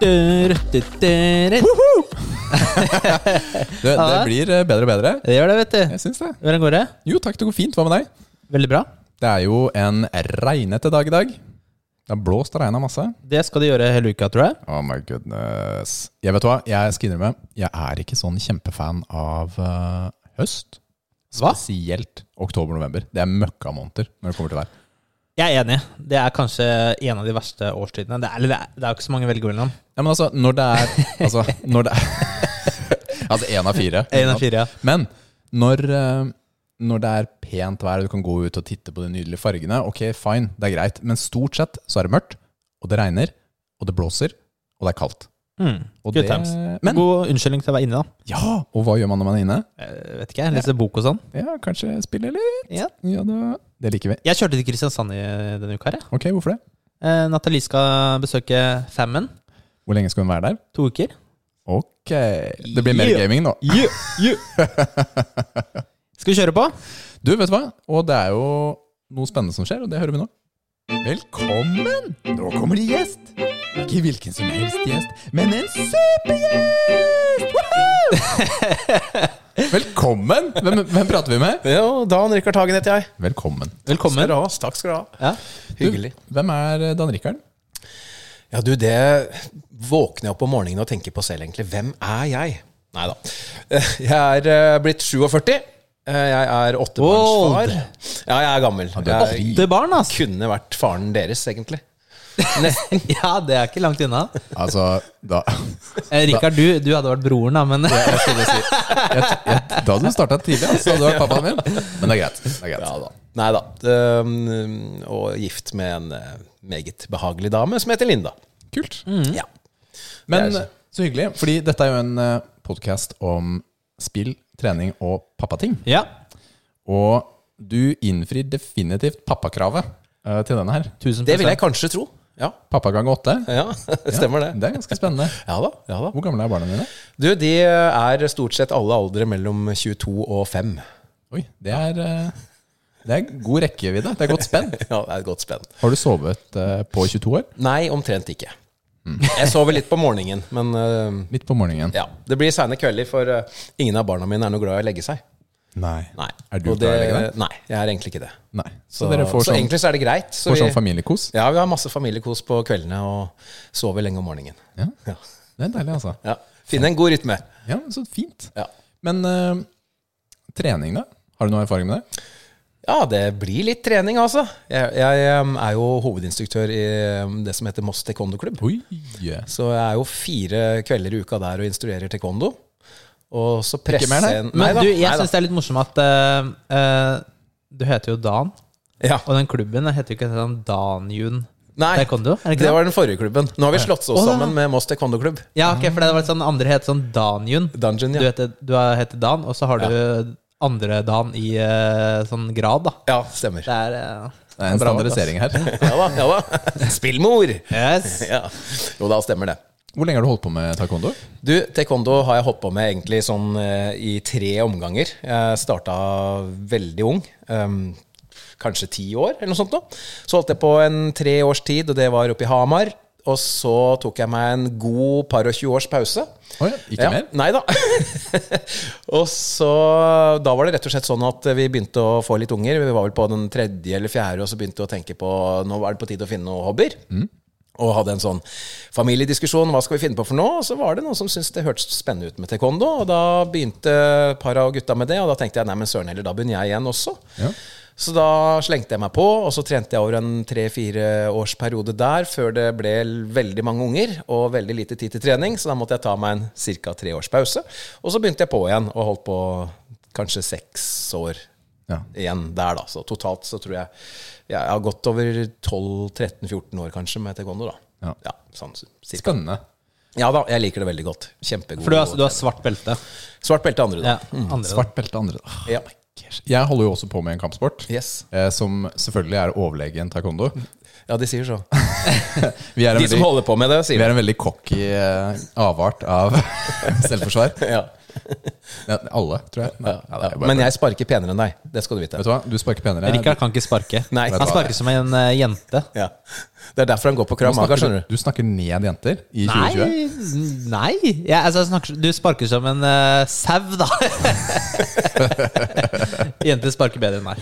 Det Det, det blir eh, bedre og bedre. gjør det, vet du. Jeg syns det. Hvordan går det? Jo takk, det går fint. Hva med deg? Veldig bra. Det er jo en regnete dag i dag. Det har blåst og regna masse. Det skal de gjøre hele uka, tror jeg. Oh my goodness. Jeg vet hva, jeg skal innrømme, jeg er ikke sånn kjempefan av eh, høst. Hva? Spesielt oktober-november. Det er møkkamåneder når det kommer til vær. Jeg er enig. Det er kanskje en av de verste årstidene. Det er, eller det er, det er jo ikke så mange å velge mellom. Ja, men altså, når det er Altså, når det er Altså, én av fire. En av fire, ja. Men når, eh, når det er pent vær, og du kan gå ut og titte på de nydelige fargene, ok, fine, det er greit. Men stort sett så er det mørkt, og det regner, og det blåser, og det er kaldt. Mm. Og Good det, times. Men God unnskyldning til å være inne, da. ja, og hva gjør man når man er inne? Jeg vet ikke, jeg leser bok og sånn. Ja, kanskje spille litt? Ja. Ja, det, det liker vi. Jeg kjørte til Kristiansand i denne uka her. jeg. Ok, hvorfor det? Eh, Nathalie skal besøke Fammen. Hvor lenge skal hun være der? To uker. Ok, det blir mer Yeah. gaming nå. Skal vi kjøre på? Du, vet du hva? Og det er jo noe spennende som skjer, og det hører vi nå. Velkommen! Nå kommer det gjest. Ikke hvilken som helst gjest, men en supergjest! Woohoo! Velkommen! Hvem, hvem prater vi med? Jo, Dan Rikard Hagen heter jeg. Velkommen. Skal Velkommen. du ha, Takk skal du ha. Ja. Hyggelig. Du, hvem er eh, Dan Rikard? Ja, du, det våkner jeg opp om morgenen og tenker på selv, egentlig. Hvem er jeg? Nei da. Jeg er eh, blitt 47. Eh, Jeg er åttebarnsfar. Ja, jeg er gammel. du er Jeg drit. Åtte barn, altså. kunne vært faren deres, egentlig. Ja, det er ikke langt unna. Altså, da, Eh, Rikard, du, du hadde vært broren, da, men jeg skulle si, jeg, jeg, da hadde du starta tidlig, altså. Du var pappaen min. Men det er greit. Det er greit. Ja da. Nei da. Um, Og gift med en eh, meget behagelig dame som heter Linda. Kult. Ja. Men Mm. Det er- så hyggelig, fordi dette er jo en podkast om spill, trening og pappating. Ja, Og du innfrir definitivt pappakravet eh, til denne her. tusen Det vil jeg kanskje tro. Ja, Pappa gang åtte. ja stemmer det. Det er ganske spennende. Ja da. ja da. Hvor gamle er barna dine? Du, de er stort sett alle aldre mellom 22 og 5. Oi, det er, eh, det er god rekkevidde. Det er godt spenn. Ja, det er et godt spenn. Har du sovet eh, på 22 år? Nei, omtrent ikke. Mm. Jeg sover litt på morgenen, men øh, Litt på morgenen. ja. Det blir seine kvelder, for øh, ingen av barna mine er noe glad i å legge seg. Nei. Nei. Er du Og det- glad i å legge deg? Nei, jeg er egentlig ikke det. Nei. Så, dere får så sånn, egentlig så er det greit. Så får sånn vi, familiekos? ja, vi har masse familiekos på kveldene og sover lenge om morgenen. Ja. Ja. Det er deilig, altså. ja. Finne en god rytme. Ja, så fint. Ja. Men eh, trening, da? Har du noe erfaring med det? Ja, det blir litt trening, altså. Jeg, jeg øh, er jo hovedinstruktør i øh, det som heter Moss Taekwondo Klubb. Oi! Så jeg er jo fire kvelder i uka der og instruerer taekwondo. Og så presse mer, nei. en- Men da, du, jeg nei da. syns det er litt morsomt at eh, eh, du heter jo Dan, ja. og den klubben heter jo ikke sånn Dan-Jun Nei, Taekwondo? Er det det ikke det? var den forrige klubben. Nå har vi slått oss Å, sammen med Moss taekwondo-klubb. Ja, ok, for det var sånn andre het sånn Dan-Jun. Dungeon, Du ja. heter, du har- heter Dan, og så har du andre Dan i eh, sånn grad, da. Ja, stemmer. Det er eh, Det er en bra valgt, ass. standardisering her. Ja da, ja da. Spillmor! Yes. Ja. Jo da, stemmer det. Hvor lenge har du holdt på med taekwondo? Du, taekwondo har jeg holdt på med egentlig sånn eh, i tre omganger. Jeg starta veldig ung. ehm, kanskje ti år, eller noe sånt. Nå. Så holdt jeg på en tre års tid, og det var oppe i Hamar. Og så tok jeg meg en god par og tjue års pause. Oi, ikke mer? Nei da. og så Da var det rett og slett sånn at vi begynte å få litt unger. Vi var vel på den tredje eller fjerde, og så begynte vi å tenke på Nå var det på tide å finne noen hobbyer. Mm. Og hadde en sånn familiediskusjon. Hva skal vi finne på for nå? Og så var det noen som syntes det hørtes spennende ut med taekwondo. Og da begynte et par av gutta med det, og da tenkte jeg nei, men søren heller, da begynner jeg igjen også. Ja. Så da slengte jeg meg på, og så trente jeg over en tre-fire års periode der, før det ble l- veldig mange unger og veldig lite tid til trening, så da måtte jeg ta meg en ca. tre års pause. Og så begynte jeg på igjen, og holdt på kanskje seks år Ja. igjen der, da. Så totalt så tror jeg jeg har gått over 12-13-14 år kanskje med taekwondo, da. Ja. sånn cirka. Spennende. Ja da, jeg liker det veldig godt. Kjempegod. For du har, du har svart belte. Svart belte andre, Ja, da. andre, da. Svart belte andre. Åh, Ja. gosh. Jeg holder jo også på med en kampsport, Yes. eh, som selvfølgelig er overlegen taekwondo. Ja, de sier så. Vi er en De som veldig, holder på med det, vi sier det. er en veldig cocky eh, avart av selvforsvar. Ja. Ja, alle, tror jeg. Nei, ja, det er bare- Men jeg sparker penere enn deg. Det skal du vite. Vet du hva, du sparker penere. Rikard kan ikke sparke. Nei. Han sparker som en eh, jente. Ja. Det er derfor han går på Krav Du snakker, Maga, skjønner du du. snakker ned jenter i Nei, 2020. nei. Jeg, altså, jeg snakker, du sparker som en uh, sau, da. Jenter sparker bedre enn meg.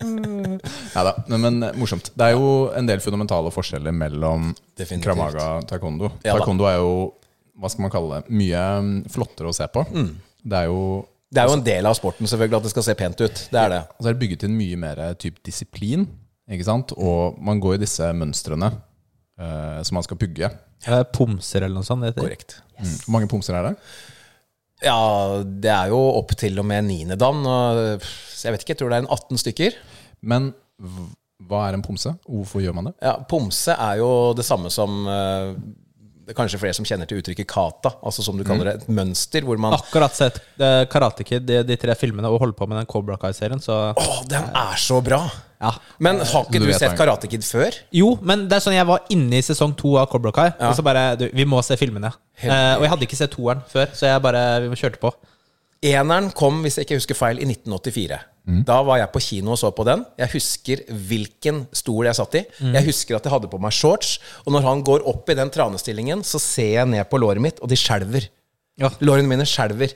Neida, Nei da, men eh, morsomt. Det er jo en del fundamentale forskjeller mellom Definitivt. kramaga og taekwondo. Ja da. taekwondo er jo hva skal man kalle det, mye mm, flottere å se på. Det er jo Det er jo en del av sporten selvfølgelig at det skal se pent ut. Det er det. altså er det bygget inn mye mer typ disiplin, ikke sant? og man går i disse mønstrene eh, som man skal pugge. Eh, Pomser eller noe sånt. det Heter. Korrekt. Mm. Hvor mange pomser er det? Ja, det er jo opp til og med niendedan. og, pff, Jeg vet ikke, jeg tror det er en 18 stykker. Men v- hva er en pomse? Og Hvorfor gjør man det? Ja, Pomse er jo det samme som eh, Det er kanskje flere som kjenner til uttrykket kata. Altså som du kaller det, et mønster hvor man Akkurat sett eh, Karate Kid, de, de tre filmene, og holder på med den Cobra Kai-serien, så Å, den er så bra! ja. Men har ikke Du du vet sett den. Karate Kid før? Jo, men det er sånn jeg var inne i sesong to av Cobra Kai, og så bare du, Vi må se filmene. Helt Eh, og jeg hadde ikke sett toeren før, så jeg bare vi må kjørte på. Eneren kom, hvis jeg ikke husker feil, i 1984. Mm. Da var jeg på kino og så på den. Jeg husker hvilken stol jeg satt i. Mm. Jeg husker at jeg hadde på meg shorts. Og når han går opp i den tranestillingen, så ser jeg ned på låret mitt, og de skjelver. Ja. Lårene mine skjelver.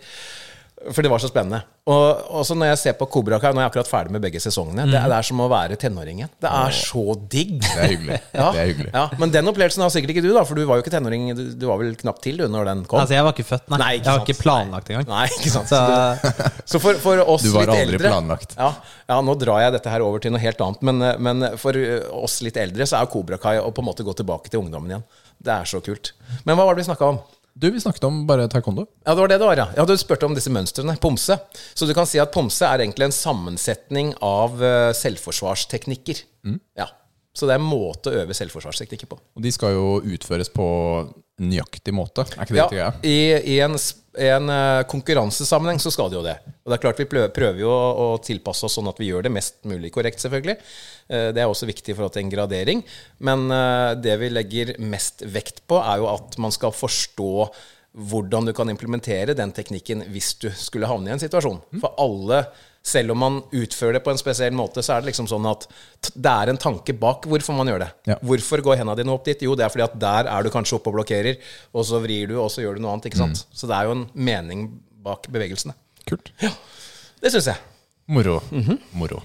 For det var så spennende. Og også når jeg ser på Kobra Kai, nå er jeg akkurat ferdig med begge sesongene. Det, er, det er som å være tenåringen. Det er så digg. Mm. Det er hyggelig. Ja, Det er hyggelig. ja, men den opplevelsen har sikkert ikke du, da. For du var jo ikke tenåring. Du, du var vel knapt til du når den kom. Altså, jeg var ikke født, nei. Nei, ikke jeg har sant. ikke planlagt engang. Nei, ikke sant. Så Så for, for oss Du var litt aldri eldre planlagt. ja, ja, nå drar jeg dette her over til noe helt annet, men, men for eh, oss litt eldre så er Kobra Kai å på en måte gå tilbake til ungdommen igjen. Det er så kult. Men hva var det vi snakka om? Du, vi snakket om bare taekwondo. Ja, det var det det var, ja. ja du spurte om disse mønstrene. Pomse. Så du kan si at pomse er egentlig en sammensetning av eh, selvforsvarsteknikker. Mm. Ja. Så det er en måte å øve selvforsvarsteknikker på. Og de skal jo utføres på nøyaktig måte. Er ikke det Ja, riktig greia? i, i en, s- en eh, konkurransesammenheng så skal det jo det. Og det er klart vi plø- prøver jo å, å tilpasse oss sånn at vi gjør det mest mulig korrekt, selvfølgelig. Eh, Det er også viktig i forhold til en gradering. Men eh, det vi legger mest vekt på, er jo at man skal forstå hvordan du kan implementere den teknikken hvis du skulle havne i en situasjon. Mm. For alle, selv om man utfører det på en spesiell måte, så er det liksom sånn at t- det er en tanke bak hvorfor man gjør det. Ja. Hvorfor går henda dine opp dit? Jo, det er fordi at der er du kanskje oppe og blokkerer, og så vrir du, og så gjør du noe annet. ikke sant? Mm. Så det er jo en mening bak bevegelsene. Kult. Det syns jeg. Moro. Mhm. Moro.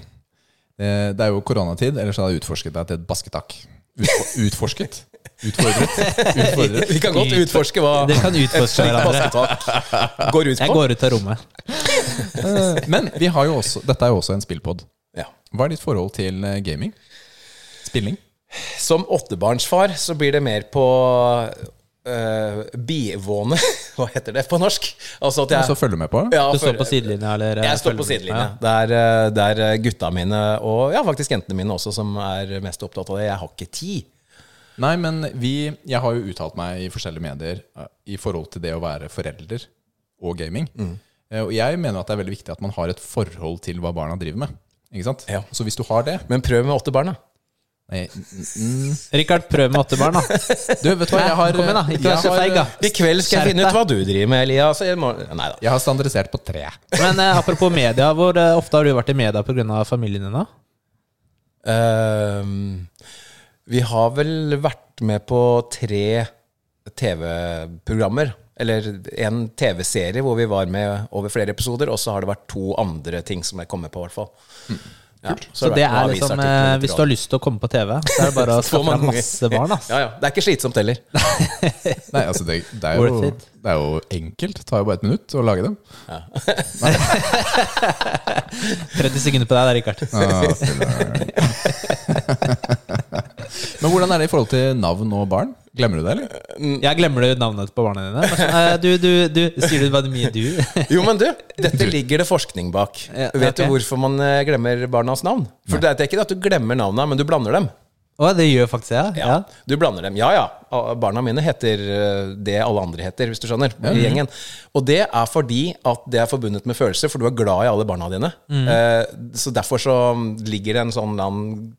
Eh, Det er jo koronatid, ellers hadde jeg utforsket deg til et basketak. Utfo- Utforsket? Utfordret? Utfordret. Vi kan godt utforske hva dere kan utforske hverandre. basketak går ut Jeg på. går ut av rommet. Eh, Men vi har jo også, dette er jo også en spillpod. Ja. Hva er ditt forhold til eh, gaming? Spilling? Som åttebarnsfar så blir det mer på øh, bivåne Hva heter det på norsk? Altså at Så jeg følger du med på? ja, Du står for- på sidelinja, eller? eh, Jeg står på følger- sidelinja. Det er, øh, det er øh, gutta mine, og ja, faktisk jentene mine også, som er mest opptatt av det. Jeg har ikke tid. Nei, men vi Jeg har jo uttalt meg i forskjellige medier eh, i forhold til det å være forelder og gaming. Mm. Eh, Og jeg mener at det er veldig viktig at man har et forhold til hva barna driver med. Ikke sant? Ja. Så hvis du har det Men prøv med åtte barn, da. Nei, mm, Ja. Rikard, prøv med åttebarn, da. Du, vet du hva, Nei, jeg har eh, Kom igjen, da. Ikke vær jeg så har- feig, da. I kveld skal jeg Skjerp finne deg. ut hva du driver med, Elias. Jeg må- Nei da. Jeg har standardisert på tre. Men eh, apropos media, hvor eh, ofte har du vært i media pga. familien din? da? Ehm, vi har vel vært med på tre TV-programmer. Eller en TV-serie hvor vi var med over flere episoder. Og så har det vært to andre ting som jeg kommer på, i hvert fall. Ja, Mm. Så det er liksom, eh, Hvis du har lyst til å komme på TV, så er det bare å Så skaffe deg mange. masse barn. ass. Ja, ja. Det er ikke slitsomt heller. Nei, altså det, det, er Worth jo, it. det er jo enkelt. Det tar jo bare et minutt å lage dem. 30 sekunder på deg, der, Rikard. Ah, fyller. Men hvordan er det i forhold til navn og barn? Glemmer du det, eller? Jeg glemmer jo navnet på barna dine. men sånn, eh, Du, du, du, Sier du bare mye du? Jo, men du, dette ligger det forskning bak. Ja, ok. Vet du hvorfor man eh, glemmer barnas navn? For det er ikke det at du glemmer navna, men du blander dem. Å, det gjør faktisk jeg. Ja. Ja, Du blander dem. Ja ja, Ah, barna mine heter eh, det alle andre heter, hvis du skjønner. I gjengen. Og det er fordi at det er forbundet med følelser, for du er glad i alle barna dine. Mm. Eh, så derfor så ligger det en sånn eller annen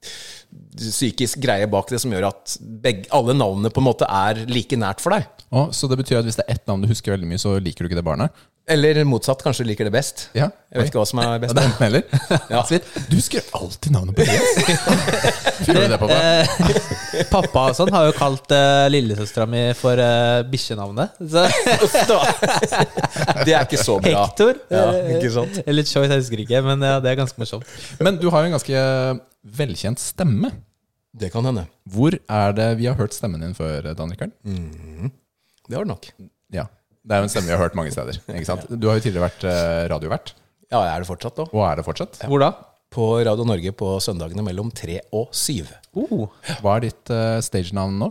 psykisk greie bak det som gjør at begge, alle navnene på en måte er like nært for deg. Å, så det betyr at hvis det er ett navn du husker veldig mye, så liker du ikke det barnet? Eller motsatt, kanskje du liker det best. Ja. Jeg vet ikke hva som er Ja, best. det er enten eller. Ja. Så vidt. Du skrev alltid navnet på Therese. Fyrer du det på meg? Eh, pappa og sånn har jo kalt uh, lillesøstera mi for uh, bikkjenavnet. Så Uff da. Det er ikke så bra. Hector. Ja, eh, ikke sant? Eller Choice, jeg husker ikke, men ja, det er ganske morsomt. Men du har jo en ganske eh, velkjent stemme. Det kan hende. Hvor er det vi har hørt stemmen din før, eh, Dan Rikard? Mm. Det har du nok. Ja. Det er jo en stemme vi har hørt mange steder. ikke sant? Du har jo tidligere vært eh, radiovert, Ja, jeg er det fortsatt, da. og er det fortsatt. Hvor da? På Radio Norge på søndagene mellom tre og syv. Oh. Hva er ditt eh, stagenavn nå?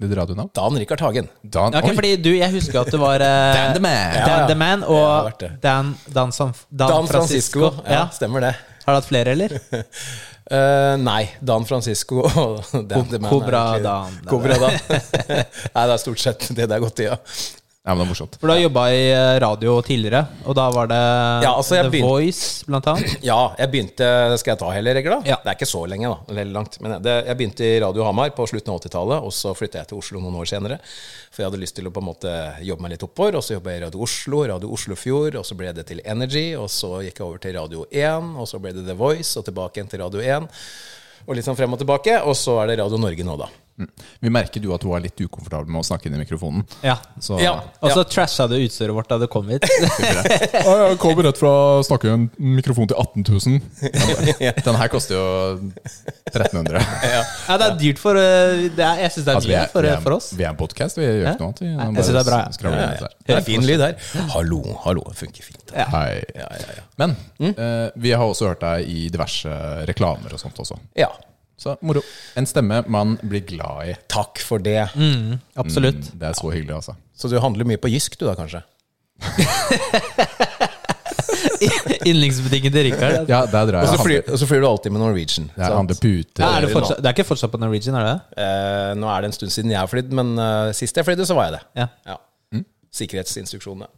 Ditt radionavn? Dan Rikard Hagen. Dan, Ja, ok, oi, fordi du, jeg husker at det var eh, Dan the Man. Dan Ja, the Man Det har og vært det. Dan, Dan, Sanf- Dan, Dan Francisco. Francisco. Ja, Ja. stemmer det. Har du hatt flere, eller? Eh, nei. Dan Francisco og Dan the Man er Cobra egentlig- Dan. Cobra Dan. nei, det er stort sett det det er gått i, ja. Ja, men det er morsomt. For du har jobba i eh, radio tidligere, og da var det Ja, altså, jeg The begynte- Voice, blant annet. Ja, jeg begynte Skal jeg ta hele regler, da? Ja. Det er ikke så lenge, da. Eller veldig langt. Men det, jeg begynte i Radio Hamar på slutten av 80-tallet, og så flytta jeg til Oslo noen år senere. For jeg hadde lyst til å på en måte jobbe meg litt oppover. Og så jobba jeg i Radio Oslo, Radio Oslofjord, og så ble det til Energy. Og så gikk jeg over til Radio 1, og så ble det The Voice, og tilbake igjen til Radio 1. Og litt sånn frem og tilbake. Og så er det Radio Norge nå, da. Mm. Vi merker du at hun er litt ukomfortabel med å snakke inn i mikrofonen. Ja. altså, Så Ja. Og så trasha du utstyret vårt da du kom hit. jeg kommer rett fra å snakke en mikrofon til 18 000. Den her koster jo 1300. Ja, det er dyrt for eh, det er, Jeg syns det er Altså, vi, dyrt er, for, vi, er, for oss. vi er en podkast, vi gjør Ja. ikke noe annet. Vi Nei, jeg bare synes det er bra, ja. skravler Ja, litt ja. her. Det er fin lyd her. Hallo, hallo. det Funker fint. Ja. Mm. Hei. Ja, ja, ja. Men eh, vi har også hørt deg i diverse reklamer og sånt også. ja. Så moro. En stemme man blir glad i. Takk for det. Mm, absolutt. Det er så hyggelig, altså. Så du handler mye på Jysk, du da, kanskje? Yndlingsbutikken til Rikard. Ja, der drar Og så jeg. flyr, handler- og så flyr du alltid med Norwegian. Det er sant? andre puter. Ja, er det, fortsatt, det er ikke fortsatt på Norwegian, er det det? Eh, nå er det en stund siden jeg har flydd, men eh, sist jeg flydde, så var jeg det. Ja. Ja. Sikkerhetsinstruksjonene.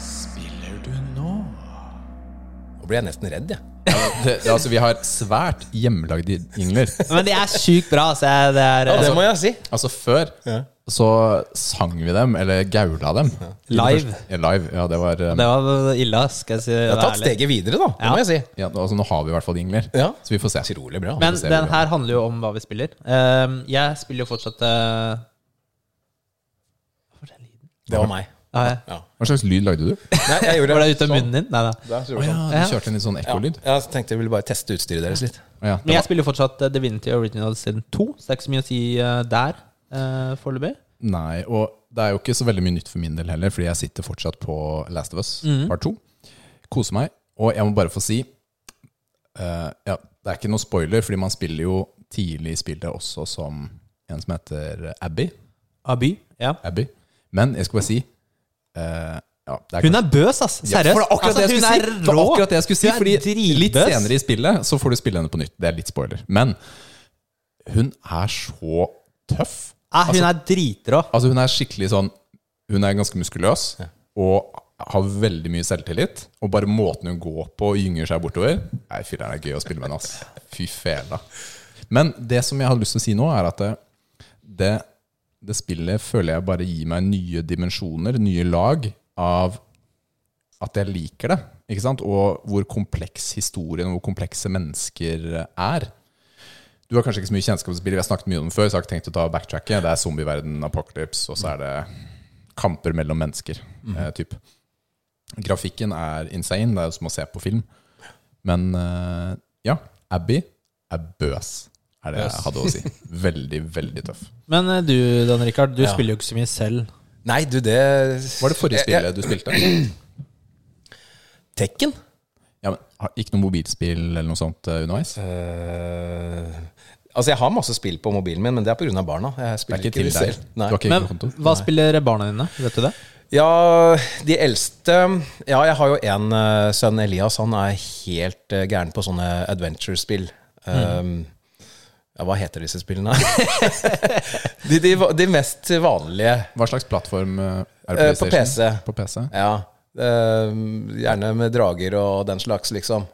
Spiller du nå? Nå ble jeg nesten redd, jeg. Det, det, altså, vi har svært hjemmelagde jingler. Men det er sjukt bra. Altså, jeg- det er, Ja, eh, det må jeg si. Altså, før så sang vi dem, eller gaula dem. Live. Ja, live, ja, det var eh, det var ille, ass, skal jeg si. Jeg har tatt steget videre, da. Det Ja. må jeg si. ja, altså, Nå har vi i hvert fall jingler, Ja. så vi får se. Utrolig bra. Men det ser den vi bra. her handler jo om hva vi spiller. Ehm, jeg spiller jo fortsatt eh, Hva var den lyden? det var meg. Ah, ja. Ja. Hva slags lyd lagde du? Nei, jeg gjorde Var det ute av munnen din? Nei, nei. Der, så Å gjorde jeg ja, sånn. du kjørte en litt sånn ekkolyd? Ja, jeg tenkte jeg ville bare teste utstyret deres litt. Å Ja, Men det jeg var, spiller fortsatt eh, Divinity Original Sin 2, så det er ikke så mye å si eh, der uh, foreløpig. nei, og det er jo ikke så veldig mye nytt for min del heller, fordi jeg sitter fortsatt på Last of Us Mhm. part 2. Koser meg. Og jeg må bare få si eh, ja, Det er ikke noe spoiler, fordi man spiller jo tidlig i spillet også som en som heter Abby. Aby. Ja. Abby. Men jeg skal bare si eh, ja, det er Hun er bøs, ass! Ja, Seriøst. Altså, for det er akkurat det jeg hun skulle er si. Det var rå. akkurat det jeg skulle si Hun er fordi dritbøs. Litt senere i spillet så får du spille henne på nytt. Det er litt spoiler. Men hun er så tøff. Ja, hun er dritrå. Altså Hun er skikkelig sånn Hun er ganske muskuløs og har veldig mye selvtillit. Og bare måten hun går på og gynger seg bortover Nei, fy, det er gøy å spille med henne, ass. Fy fela. Men det som jeg hadde lyst til å si nå, er at det, det, det spillet føler jeg bare gir meg nye dimensjoner, nye lag, av at jeg liker det. Ikke sant? Og hvor kompleks historien og hvor komplekse mennesker er. Du har kanskje ikke så mye kjennskap til spillet, vi har snakket mye om det før, så jeg har ikke tenkt å ta backtracket. Det er zombieverden, apocalypse, og så er det kamper mellom mennesker. Eh, typ. Grafikken er insane, det er jo som å se på film. Men eh, ja, Abby er bøs, er det jeg hadde å si. Veldig, veldig tøff. Men eh, du, Dan Rikard, du spiller jo ikke så mye selv. Nei, du, det Eh, Var det forrige Jeg- jeg- spillet du spilte? Tekken? Ja, men, har- ikke noe mobilspill eller noe sånt eh, underveis? Eh, altså, jeg har masse spill på mobilen min, men det er pga. barna. Det Jeg er spiller ikke til deg. selv. Du Nei. har ikke Men egen konto? hva spiller barna dine? Vet du det? Ja, de eldste Ja, jeg har jo en eh, sønn, Elias. Han er helt eh, gæren på sånne adventure-spill. Mm. Um, ja, hva heter disse spillene? de, de, de mest vanlige. Hva slags plattform eh, er Eh, det på PlayStation? PC. På PC? Ja. Eh, gjerne med drager og den slags, liksom.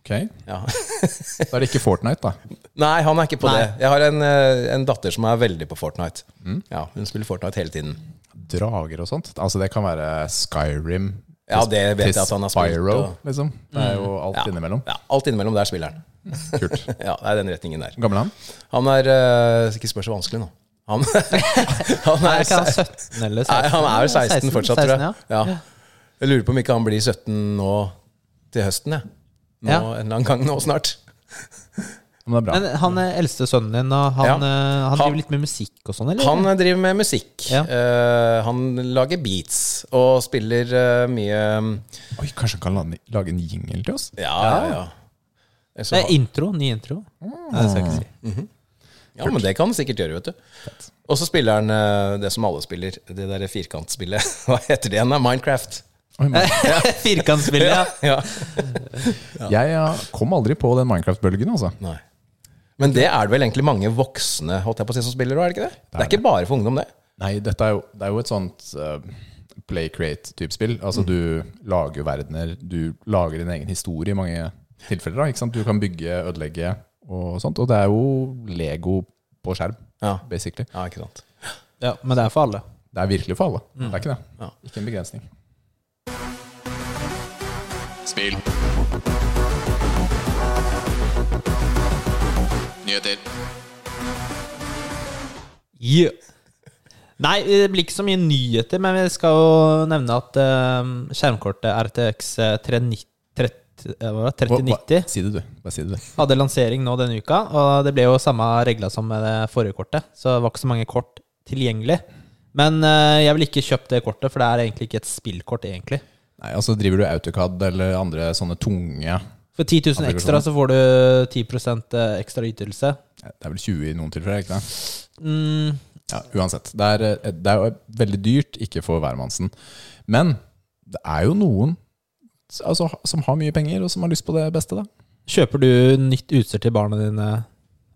Ok, Ja. Da er det ikke Fortnite, da. Nei, han er ikke på Nei. det. Jeg har en, eh, en datter som er veldig på Fortnite. Mm. Ja, Hun spiller Fortnite hele tiden. Drager og sånt. Altså Det kan være Skyrim Ja, det vet til jeg at han har spilt, Spyro, og- liksom. Det er jo alt innimellom. Ja, alt innimellom der spiller han. Kult. Ja, det er den retningen der. Gammel han? Han er eh, Ikke spør så vanskelig nå. Han, han, Nei, er, ikke han se- 17 eller 16? nei, han er jo 16 fortsatt, 16, tror jeg. ja. Ja. Jeg lurer på om ikke han blir 17 nå til høsten, jeg. Nå, Ja. En eller annen gang nå snart. Men det er bra. Men han eh, eldste sønnen din, og han, Ja. eh, han Han- driver litt med musikk og sånn, eller? Han driver med musikk. Ja. Eh, han lager beats og spiller eh, mye Oi, Kanskje han kan la- lage en jingle til oss? Ja, ja, ja. Eh, så det han- er intro. Ny intro. Mm. Nei, det skal jeg ikke si. Ja, men det kan han sikkert gjøre, vet du. Og så spiller han eh, det som alle spiller, det derre firkantspillet. Hva heter det igjen? da? Minecraft. Oi, men, Firkantspillet, ja. Ja. jeg ja, kom aldri på den Minecraft-bølgen, altså. Nei. Men det er det vel egentlig mange voksne holdt jeg på å si, som spiller òg, er det ikke det? Det er ikke bare for ungdom, det. Nei, dette er jo, det er jo et sånt eh, play create-type spill. Altså Du lager jo verdener, du lager din egen historie i mange tilfeller. da, ikke sant? Du kan bygge, ødelegge og sånt. Og det er jo Lego på skjerm, Ja. basically. Ja, ikke sant. ja. Men det er for alle. Det er virkelig for alle. Det er ikke det. Ja. Ikke en begrensning. Spill. Nyheter. Yeah. Nei, det blir ikke så mye nyheter, men vi skal jo nevne at eh, skjermkortet RTX 390, 30, eh, hva var det? Hva- hva- 3090 Si det, du. Bare si det, du. hadde lansering nå denne uka, og det ble jo samme regler som med det forrige kortet, så det var ikke så mange kort tilgjengelig. Men eh, jeg vil ikke kjøpe det kortet, for det er egentlig ikke et spillkort, egentlig. Nei, altså Driver du AutoCAD eller andre sånne tunge For 10 000 ekstra så får du 10 ekstra ytelse. Det er vel 20 i noen tilfeller, ikke det? Mm, Ja, uansett. Det er, eh, det er jo veldig dyrt, ikke for hvermannsen. Men det er jo noen s- altså, som har mye penger, og som har lyst på det beste, da. kjøper du nytt utstyr til barna dine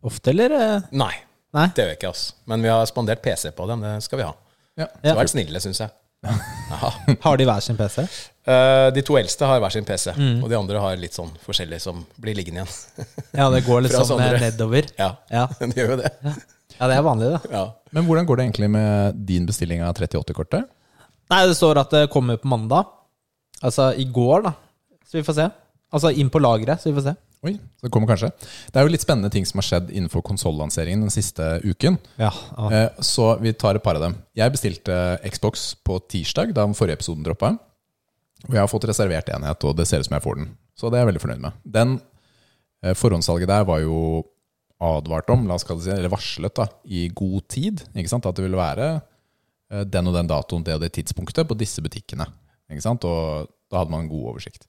ofte, eller? eh? Nei, Nei? det gjør ikke oss. Men vi har spandert PC på dem, det skal vi ha. Ja. Så Ja. vært snille, syns jeg. Ja. Har de hver sin PC? Eh, De to eldste har hver sin PC, og de andre har litt sånn forskjellig som blir liggende igjen. Ja, det går litt Fra sånn eh, Sondre. nedover. Ja, Ja. de gjør jo det. ja, det er vanlig, det. Ja. Men hvordan går det egentlig med din bestilling av 38-kortet? Nei, det står at det kommer på mandag. Altså i går, da. Så vi får se. Altså inn på lageret, så vi får se. Oi, det kommer kanskje. Det er jo litt spennende ting som har skjedd innenfor konsollanseringen den siste uken. Ja, Eh, Så vi tar et par av dem. Jeg bestilte Xbox på tirsdag, da den forrige episoden droppa. Og jeg har fått reservert enhet, og det ser ut som jeg får den. Så det er jeg veldig fornøyd med. Den eh, Forhåndssalget der var jo advart om, la oss kalle det, si, eller varslet da, i god tid. ikke sant? At det ville være eh, den og den datoen, det og det tidspunktet på disse butikkene. ikke sant? Og da hadde man en god oversikt.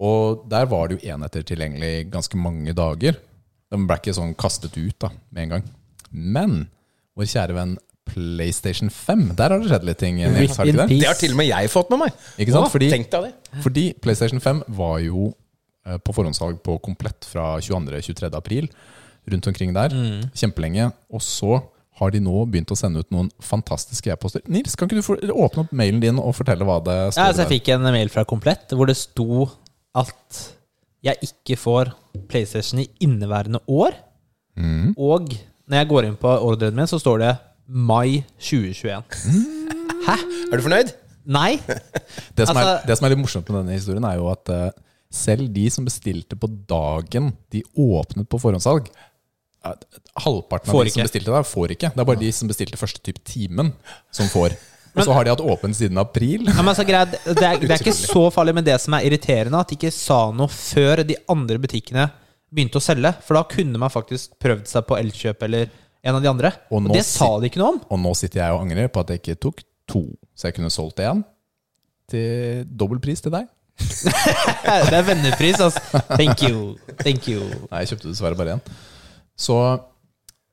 Og der var det jo enheter tilgjengelig i ganske mange dager. De ble ikke sånn kastet ut da, med en gang. Men vår kjære venn PlayStation 5, der har det skjedd litt ting. Nils, har det ikke det? Det har til og med jeg fått med meg. Ikke sant? Å, Fordi- Tenk deg det. Fordi PlayStation 5 var jo eh, på forhåndssalg på komplett fra 22.-23. april, rundt omkring der, Mm. kjempelenge. Og så har de nå begynt å sende ut noen fantastiske e-poster. Nils, kan ikke du få, åpne opp mailen din og fortelle hva det Ja, står så jeg fikk en mail fra Komplett hvor det sto at jeg ikke får PlayStation i inneværende år. Mm. Og når jeg går inn på ordren min, så står det mai 2021. Er du fornøyd? Nei! Det som, Altså- er, det som er litt morsomt med denne historien, er jo at eh, selv de som bestilte på dagen de åpnet på forhåndssalg eh, Halvparten av Får de som ikke. bestilte der, får ikke. Det er bare de som bestilte første type timen, som får. Og så har de hatt åpent siden april. Ja, men altså, greit, det, er, det er ikke så farlig, men det som er irriterende, at de ikke sa noe før de andre butikkene begynte å selge. For da kunne man faktisk prøvd seg på Elkjøp eller en av de andre. Og Og, nå det sa sit- de ikke noe om. Og nå sitter jeg og angrer på at jeg ikke tok to, så jeg kunne solgt én til dobbel pris til deg. Det er vennepris, altså. Thank you. Thank you. Nei, jeg kjøpte dessverre bare én. Så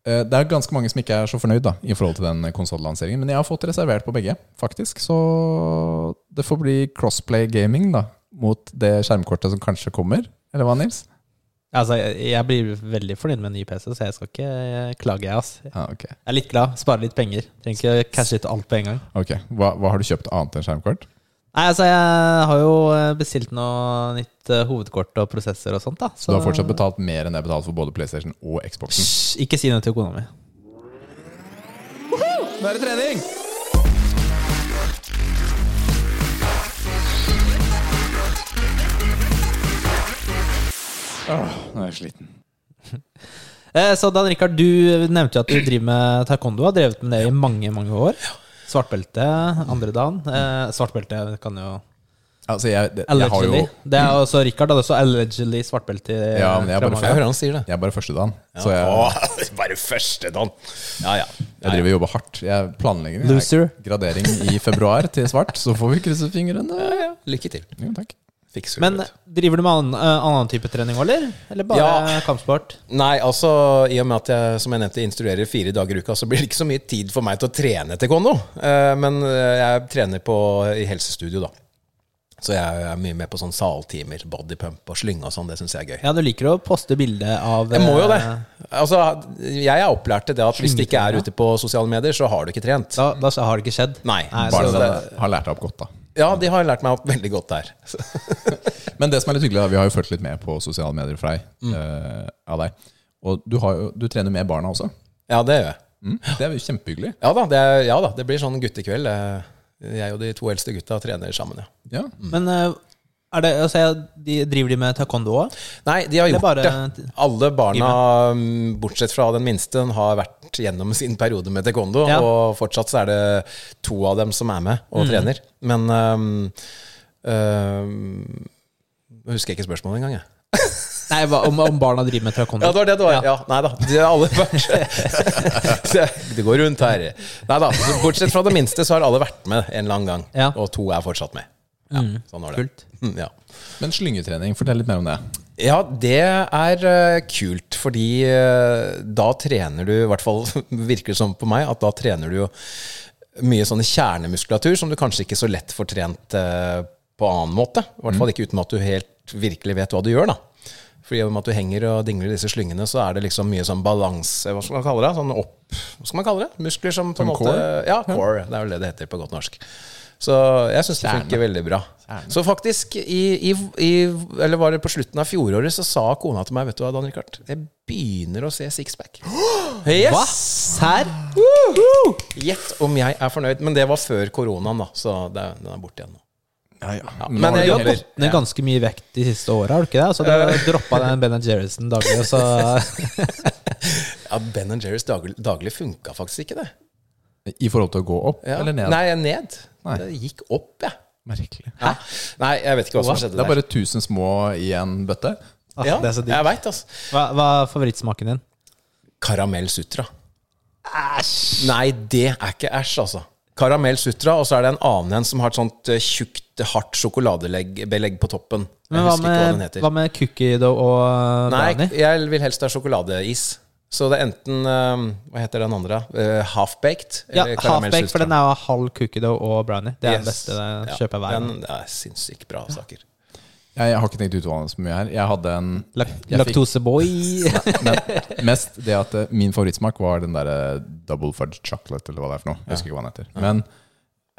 eh, det er ganske mange som ikke er så fornøyd da, i forhold til den konsollanseringen. Men jeg har fått reservert på begge, faktisk. Så det får bli crossplay gaming da, mot det skjermkortet som kanskje kommer. Eller hva, Nils? Altså, jeg, jeg blir veldig fornøyd med en ny PC, så jeg skal ikke eh, klage, jeg, altså. Ja, ok. Jeg er litt glad. Sparer litt penger. Trenger ikke å cashe ut alt på en gang. Ok, Hva, hva har du kjøpt annet enn skjermkort? Nei, altså, jeg har jo eh, bestilt noe nytt eh, hovedkort og prosesser og sånt, da. Så du har fortsatt betalt mer enn det jeg betalte for både PlayStation og Xboxen. Hysj, ikke si noe til kona mi. Nå er det trening! Åh, nå er jeg sliten. Eh, Så Dan Rikard, du nevnte jo at du driver med taekwondo. Har drevet med det i mange, mange år. Svartbelte andre dagen. Eh, Svartbelte kan jo Altså, jeg, det, jeg har jo Allegedly. Det er også Rikard hadde også allegedly svartbelte. eh, Ja, men jeg fra mange bare Ja. Jeg år. hører han sier det. Jeg er bare første dagen, så jeg, Å, bare første dagen. Ja, ja. jeg driver og jobber hardt. Jeg planlegger jeg- Loser. gradering i februar til svart, så får vi krysse fingrene. Ja, ja. Lykke til. Jo, takk. Fikser Men det. driver du med annen, eh, annen type trening òg, eller? Eller bare Ja. kampsport? Nei, altså, i og med at jeg som jeg nevnte, instruerer fire dager i uka, så blir det ikke så mye tid for meg til å trene taekwondo. Eh, Men eh, jeg trener på, i helsestudio, da. Så jeg er mye med på sånn saltimer, bodypump og slynge og sånn. Det syns jeg er gøy. Ja, du liker å poste bilde av Jeg må jo det. eh, Altså, jeg er opplært til det at hvis du ikke er ute på sosiale medier, så har du ikke trent. Da, da har det ikke skjedd. Nei. Nei, så Barna det, dine har lært deg opp godt, da. ja, de har lært meg opp veldig godt der. Men det som er litt hyggelig, da, vi har jo fulgt litt med på sosiale medier fra deg. Mm. eh, av deg. Og du, har jo, du trener med barna også. Ja, det gjør jeg. Mm. Det er jo kjempehyggelig. Ja da, det, er- ja da, det blir sånn guttekveld. eh. Jeg og de to eldste gutta trener sammen, ja. Ja. Men eh, er det, altså, jeg- de, driver de med taekwondo òg? Nei, de har Eller gjort bare det. Alle barna, mm, bortsett fra den minste, har vært gjennom sin periode med taekwondo. Ja. Mm. Og fortsatt så er det to av dem som er med og trener. Men øhm, øhm, Jeg husker ikke spørsmålet engang, jeg. Nei, hva- om, om barna driver med taekwondo? Ja, det var det det var. Ja. nei da. De har alle vært Se, Det går rundt her. Nei da. så Bortsett fra det minste, så har alle vært med en eller annen gang. Ja. Og to er fortsatt med. Ja, sånn var det. Kult. Mm, Ja. Men slyngetrening, fortell litt mer om det. Ja, det er eh, kult, fordi eh, da trener du, i hvert fall virker det som på meg, at da trener du jo mye sånne kjernemuskulatur som du kanskje ikke så lett får trent eh, på annen måte. I hvert fall ikke uten at du helt virkelig vet hva du gjør, da. Fordi om at du henger og dingler i disse slyngene, så er det liksom mye sånn balanse Hva skal man kalle det? Sånn opp Hva skal man kalle det? Muskler som på en Som måte core? Ja, core. Det er vel det det heter på godt norsk. Så jeg syns det funker veldig bra. Så faktisk, i, i, i, eller var det på slutten av fjoråret, så sa kona til meg, vet du hva, Dan Rikard, jeg begynner å se sixpack. Hva? Yes! Serr? Gjett om jeg er fornøyd. Men det var før koronaen, da, så det, er- den er borte igjen nå. Nå men har jeg du jobber. heller- Ned ganske mye vekt de siste åra, har du ikke det? Altså, du droppa den Ben Jerrison daglig, og så Ja, Ben Jerrys daglig, daglig funka faktisk ikke, det. I forhold til å gå opp Ja. eller ned? Nei, ned. Nei. Det gikk opp, jeg. Merkelig. Ja. Nei, jeg vet ikke hva som Det skjedde er der. bare 1000 små i en bøtte. Ah, Ja, Det er så digg. jeg veit, altså. Hva, hva er favorittsmaken din? Karamell Sutra. Æsj! Nei, det er ikke æsj, altså. Karamell Sutra, og så er det en annen en som har et sånt eh, tjukt, hardt sjokoladebelegg på toppen. Jeg Men hva husker ikke hva den med, heter. hva med cookie dough og eh, Nei, brownie? jeg vil helst ha sjokoladeis. Så det er enten eh, Hva heter den andre? Uh, half-baked? Ja, eller Karamell halfbake, for Sutra. den er jo halv cookie dough og brownie. Det er den Yes. beste den Ja, kjøper hver gang. den- Det er sinnssykt bra saker. Jeg, jeg har ikke tenkt ut hva så mye her. Jeg hadde en Lak- jeg fikk Laktoseboy. Mest det at eh, min favorittsmak var den derre double fudge chocolate, eller hva det er for noe. Jeg husker ikke hva den heter. Men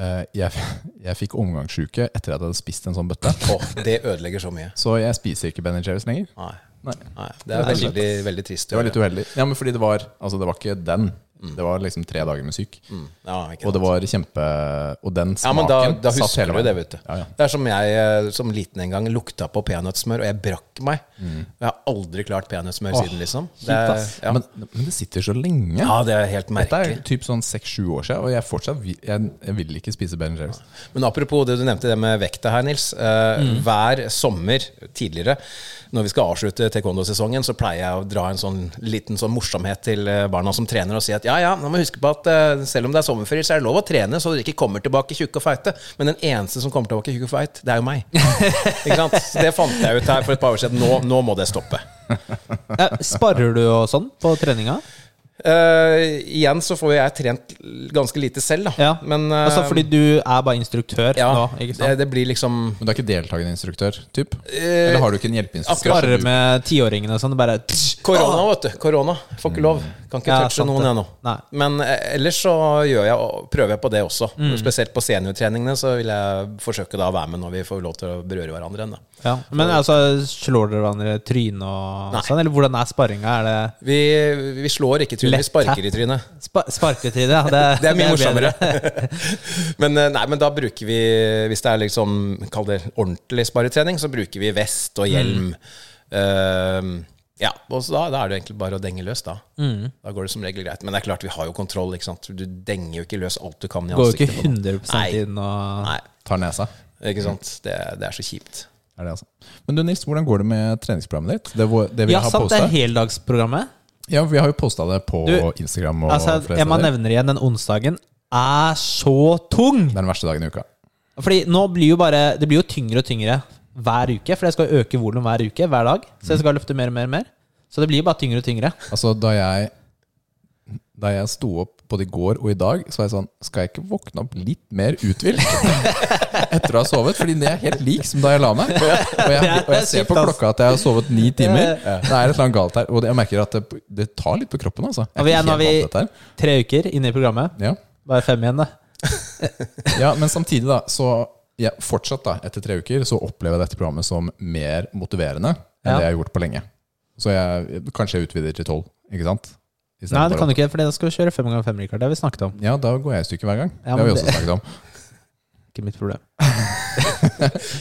eh, jeg, f- jeg fikk omgangssjuke etter at jeg hadde spist en sånn bøtte. Åh, det ødelegger så mye. Så jeg spiser ikke Ben Jerry's lenger. Nei. Nei. Nei, det er Nei, veldig, veldig trist. å Det var gjøre. litt uheldig. Ja, men fordi det var Altså, det var ikke den. Det var liksom tre dager med syk. Mm. Ja, Og ikke sant. det var kjempe Og den Ja, men smaken da, da satt husker hele du det, veien. vet du. Ja, ja. Det er som jeg eh, som liten en gang lukta på peanøttsmør, og jeg brakk meg. Mm. Jeg har aldri klart peanøttsmør siden, liksom. Det, kjipt, er- ass. ja. Men, men det sitter så lenge. ja, det er helt Dette er merkelig. typ sånn seks-sju år siden, og jeg fortsatt vil- jeg, jeg vil ikke spise Ben Jerry's. Men apropos det du nevnte det med vekta her, Nils. Eh, Mm. Hver sommer tidligere, når vi skal avslutte taekwondo-sesongen, så pleier jeg å dra en sånn liten sånn morsomhet til eh, barna som trener, og si at ja, ja, nå må vi huske på at eh, selv om det er sommerferie, så er det lov å trene, så dere ikke kommer tilbake tjukke og feite. Men den eneste som kommer tilbake tjukke og feit, det er jo meg. ikke sant? Så det fant jeg ut her for et par år siden. Nå, nå må det stoppe. Ja, Sparrer du og sånn på treninga? Eh, igjen så får jo jeg trent ganske lite selv, da. Ja. Men eh, Altså fordi du er bare instruktør ja, nå, ikke Det, sant? det blir liksom eh, Men du er ikke deltakende instruktør? Typ? Eller har du ikke en hjelpeinstruktør? Bare som du- med tiåringene og sånn. Det bare Korona, vet du. Korona. Får ikke lov. Kan ikke Mm. Ja, touche sant noen det. ennå. Nei. Men eh, ellers så gjør jeg, prøver jeg på det også. Mm. Spesielt på seniortreningene så vil jeg forsøke da å være med når vi får lov til å berøre hverandre igjen. da. Ja. Men altså, slår dere hverandre i trynet og Nei. sånn? Eller hvordan er sparringa? Er det Vi, vi slår ikke i trynet, Lett vi sparker i trynet. spa sparketid? Ja. Det, Det er mye bedre. morsommere. men, eh, nei, men da bruker vi, hvis det er liksom, kall det ordentlig sparetrening, så bruker vi vest og hjelm. Mm. Eh, ja, og så da, da er det egentlig bare å denge løs, da. Mm. Da går det som regel greit. Men det er klart, vi har jo kontroll, ikke sant. Du denger jo ikke løs alt du kan i Går jo ansiktet. ikke på noen. 100 Nei. inn og Nei, Tar nesa. ikke sant. Det, det er så kjipt. Er det altså. Men du Nils, hvordan går det med treningsprogrammet ditt? Det, hvor- det vi Ja, har sant, det er postet. heldagsprogrammet. Ja, vi har jo posta det på Du, Instagram. Og Altså, flere jeg må steder. nevne igjen, den onsdagen er så tung! Det er den verste dagen i uka. Fordi nå blir jo bare Det blir jo tyngre og tyngre hver uke. For jeg skal jo øke volum hver uke, hver dag. Så jeg skal løfte mer og mer og mer. Så det blir jo bare tyngre og tyngre. Altså, da jeg, da jeg sto opp både i går og i dag, så var jeg sånn Skal jeg ikke våkne opp litt mer uthvilt etter å ha sovet? Fordi det er helt lik som da jeg la meg. Og jeg, og jeg ser på klokka at jeg har sovet ni timer. Det er et eller annet galt her. Og det- jeg merker at det, det tar litt på kroppen, altså. Jeg Og vi er, ikke nå er helt vant til dette vi tre uker inne i programmet. her. Ja. Bare fem igjen, da. Ja, men samtidig da, så ja, fortsatt da, etter tre uker, så opplever jeg dette programmet som mer motiverende enn Ja. det jeg har gjort på lenge. Så jeg, kanskje jeg utvider til tolv, ikke sant? I stedet Nei, det for kan du å- ikke, for da skal vi kjøre fem ganger fem, Rikard. Det har vi snakket om. Ja, da går jeg i stykker hver gang. Ja, det har men vi også snakket om. Ikke mitt problem.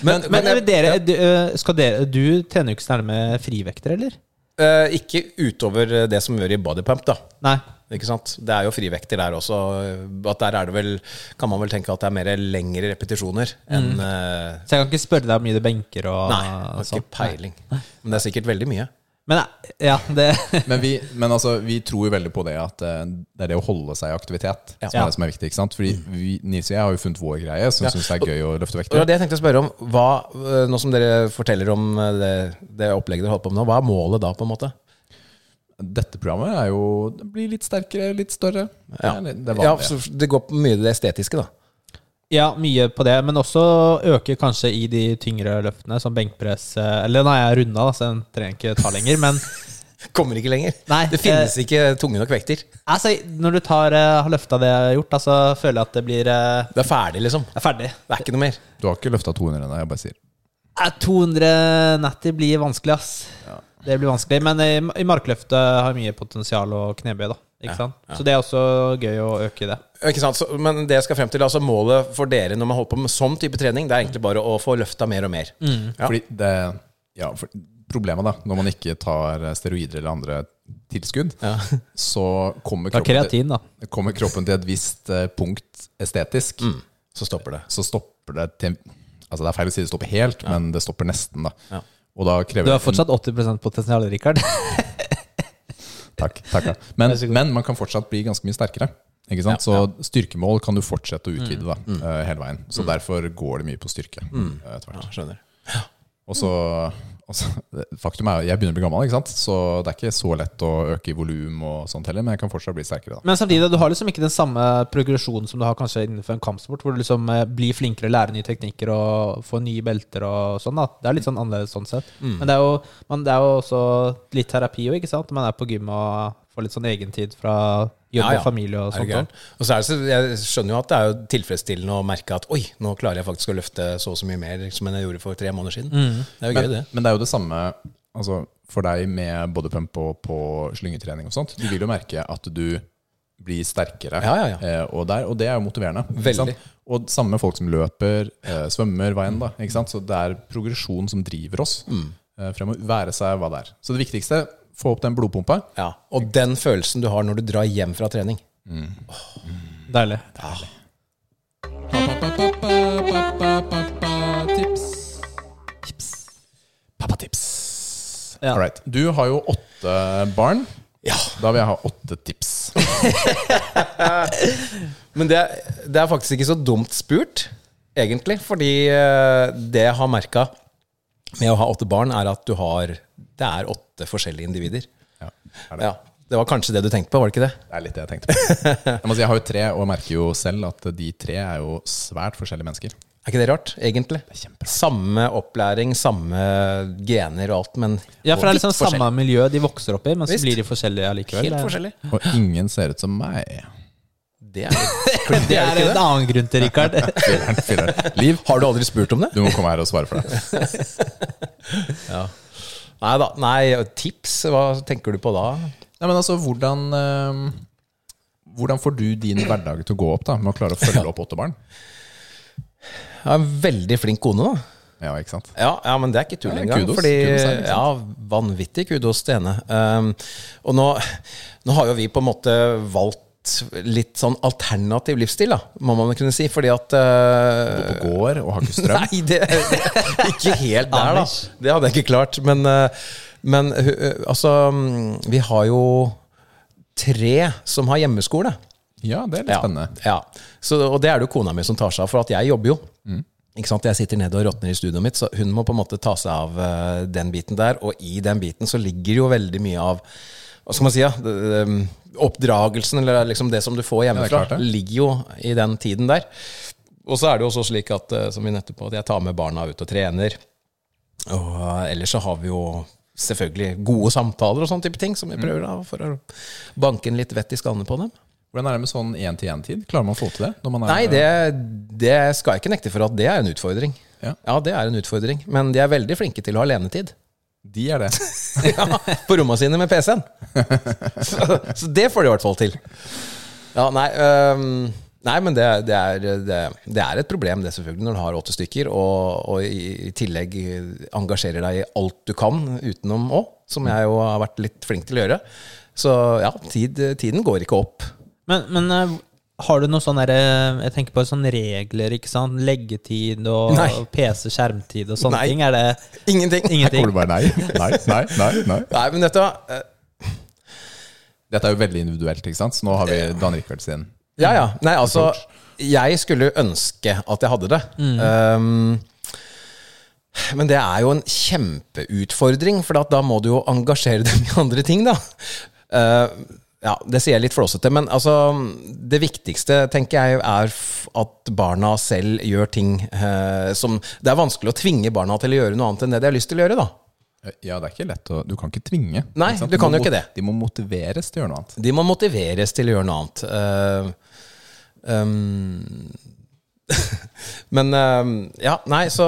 Men, Men, eh, dere, du, eh, skal dere Du trener jo ikke så nærme frivekter, eller? eh, ikke utover eh, det som gjør i bodypump, da. Nei. Ikke sant? Det er jo frivekter der også. At der er det vel, kan man vel tenke at det er mer lengre repetisjoner enn Mm. eh, Så jeg kan ikke spørre deg hvor mye du benker og Nei, jeg har sånn. ikke peiling. Men det er sikkert veldig mye. Men eh, ja, det Men, vi, men altså, vi tror jo veldig på det at eh, det er det å holde seg i aktivitet som Ja. er det som er viktig. ikke sant? Fordi vi, Nils og jeg har jo funnet vår greie, som synes syns det er gøy å løfte Og det vekter. var det jeg tenkte å spørre om. Hva, eh, nå som dere forteller om eh, det, det opplegget dere holder på med nå, hva er målet da, på en måte? Dette programmet er jo, det blir litt sterkere, litt større. Det Ja, er litt- det er ja vanlig. så det går på mye i det estetiske, da. Ja, mye på det, men også øke kanskje i de tyngre løftene, som benkpress eh, Eller nå er jeg runda, da, så den trenger jeg ikke ta lenger, men Kommer ikke lenger. Nei, det finnes ikke tunge nok vekter. altså, når du tar, eh, har løfta det jeg har gjort, da, så føler jeg at det blir eh, Det er ferdig, liksom. det er ferdig. Det er ikke noe mer. Du har ikke løfta 200 ennå, jeg bare sier. Eh, 200 netter blir vanskelig, ass. Det blir vanskelig, men i, i markløftet har jeg mye potensial å knebøye, da. Ikke sant? Så det er også gøy å øke det. Ikke sant? Så, men det jeg skal frem til, altså målet for dere når man holder på med sånn type trening, det er egentlig bare å få løfta mer og mer. Ja. Fordi det, ja, for problemet da, når man ikke tar steroider eller andre tilskudd, så kommer Ta kroppen, til, kreatin, da. kommer kroppen til et visst eh, punkt estetisk, Mm. Så stopper det. så stopper det til, altså det er feil å si det stopper helt, men det stopper nesten da. Ja. Og da krever Du har fortsatt 80 potensial, Rikard. Takk, takk. ja. Men, men man kan fortsatt bli ganske mye sterkere. Ikke sant? Så styrkemål kan du fortsette å utvide Mm. da, eh, hele veien. Så derfor går det mye på styrke eh, etter hvert. Ja, skjønner. Og så, og så Faktum er jo jeg begynner å bli gammel, ikke sant? så det er ikke så lett å øke i volum og sånt heller, men jeg kan fortsatt bli sterkere. da Men samtidig, du har liksom ikke den samme progresjonen som du har kanskje innenfor en kampsport, hvor du liksom eh, blir flinkere, lærer nye teknikker og får nye belter og sånn. da Det er litt sånn annerledes sånn sett. Mm. Men det er, jo, men det er jo også litt terapi òg, ikke sant? Man er på gym og får litt sånn egentid fra jobb Ja, ja. og familie og Er sånt. du gæren? også. Og så er det så, jeg skjønner jo at det er jo tilfredsstillende å merke at oi, nå klarer jeg faktisk å løfte så og så mye mer som enn jeg gjorde for tre måneder siden. Mm. Det er jo gøy, det. Men, men det er jo det samme altså, for deg med bodypump og på slyngetrening og sånt. Du vil jo merke at du blir sterkere, Ja, ja, ja. Eh, og, der, og det er jo motiverende. ikke Veldig. sant? Og samme med folk som løper, eh, svømmer, hva enn. da ikke sant? Så det er progresjon som driver oss Mm. eh, fremover. Være seg hva det er. Så det viktigste, få opp den blodpumpa. Ja. Og den følelsen du har når du drar hjem fra trening. Deilig. Tips. Pappatips. Ja. All right. Du har jo åtte barn. Ja. Da vil jeg ha åtte tips. Men det, det er faktisk ikke så dumt spurt, egentlig. Fordi eh, det jeg har merka med å ha åtte barn, er at du har Det er åtte forskjellige individer. Ja, er det. Ja. Det var kanskje det du tenkte på, var det ikke det? Det er litt det jeg tenkte på. Jeg, må si, jeg har jo tre, og jeg merker jo selv at de tre er jo svært forskjellige mennesker. Er ikke det rart, egentlig? Samme opplæring, samme gener og alt, men Ja, for det er vidt liksom samme forskjellig. miljø de vokser opp i, men så Visst. blir de forskjellige allikevel. Helt Det er- forskjellig. Og ingen ser ut som meg. Det er litt creepy, Det er er det ikke en det? annen grunn til, Rikard. Fylleren, fylleren. Liv, Har du aldri spurt om det? du må komme her og svare for det. Nei da. Nei, tips? Hva tenker du på da? Nei, men altså, hvordan, eh, hvordan får du din hverdag til å gå opp da, med å klare å følge opp åtte barn? Jeg har en veldig flink kone, da. Ja, ikke sant? Ja, ja men det er ikke tull Nei, engang. kudos. Fordi, Kudos er det, ikke ja, vanvittig kudos til henne. Um, og nå, nå har jo vi på en måte valgt litt sånn alternativ livsstil, da, må man kunne si. Fordi at uh, På gård og har ikke strøm. Nei, det, det ikke helt der, da. Anders. Det hadde jeg ikke klart. Men, eh, men eh, altså mm, Vi har jo tre som har hjemmeskole. Ja, det er litt spennende. Ja. Så, og det er det jo kona mi som tar seg av, for at jeg jobber jo. Mm. Ikke sant? Jeg sitter nede og råtner i studioet mitt, så hun må på en måte ta seg av eh, den biten der. Og i den biten så ligger jo veldig mye av Hva skal man si, ja? Det, det, mm, oppdragelsen, eller liksom det som du får det er hjemmefra, klart det. ligger jo i den tiden der. Og så er det jo også slik at, eh, som vi nettopp at jeg tar med barna ut og trener. Og eh, ellers så har vi jo selvfølgelig gode samtaler og sånne type ting, Mm. som vi prøver da, for å banke en litt vett i skallene på dem. Hvordan er det med sånn én-til-én-tid? Klarer man å få til det? Når man er, Nei, det, det skal jeg ikke nekte for at det er en utfordring. Ja. det er en utfordring. Men de er veldig flinke til å ha alenetid. De er det. ja, på romma sine med PC-en. så, så det får de i hvert fall til. Ja, nei, øhm, nei men det, det, er, det, det er et problem, det selvfølgelig, når du har åtte stykker, og, og i, i tillegg engasjerer deg i alt du kan utenom òg, som jeg jo har vært litt flink til å gjøre. Så ja, tid, tiden går ikke opp. Men, men eh, har du noe sånn derre Jeg tenker på sånne regler, ikke sant? Leggetid og Nei. PC, skjermtid og sånne Nei. ting. Er det Her Ingenting. kommer ingenting? du bare nei, nei, nei, nei, nei. Nei, men dette eh, Dette er jo veldig individuelt, ikke sant? Så nå har vi Dan Rikard sin. Ja, ja. Nei, altså Jeg skulle ønske at jeg hadde det. Um, men det er jo en kjempeutfordring, for at da må du jo engasjere dem i andre ting, da. Uh, ja, det sier jeg litt flåsete, men altså Det viktigste, tenker jeg, er f- at barna selv gjør ting eh, som Det er vanskelig å tvinge barna til å gjøre noe annet enn det de har lyst til å gjøre, da. Ja, det er ikke lett å Du kan ikke tvinge. Nei, ikke sant? du kan må jo ikke mot- det. De må motiveres til å gjøre noe annet. De må motiveres til å gjøre noe annet. Eh, ehm, men ehm, ja, nei, så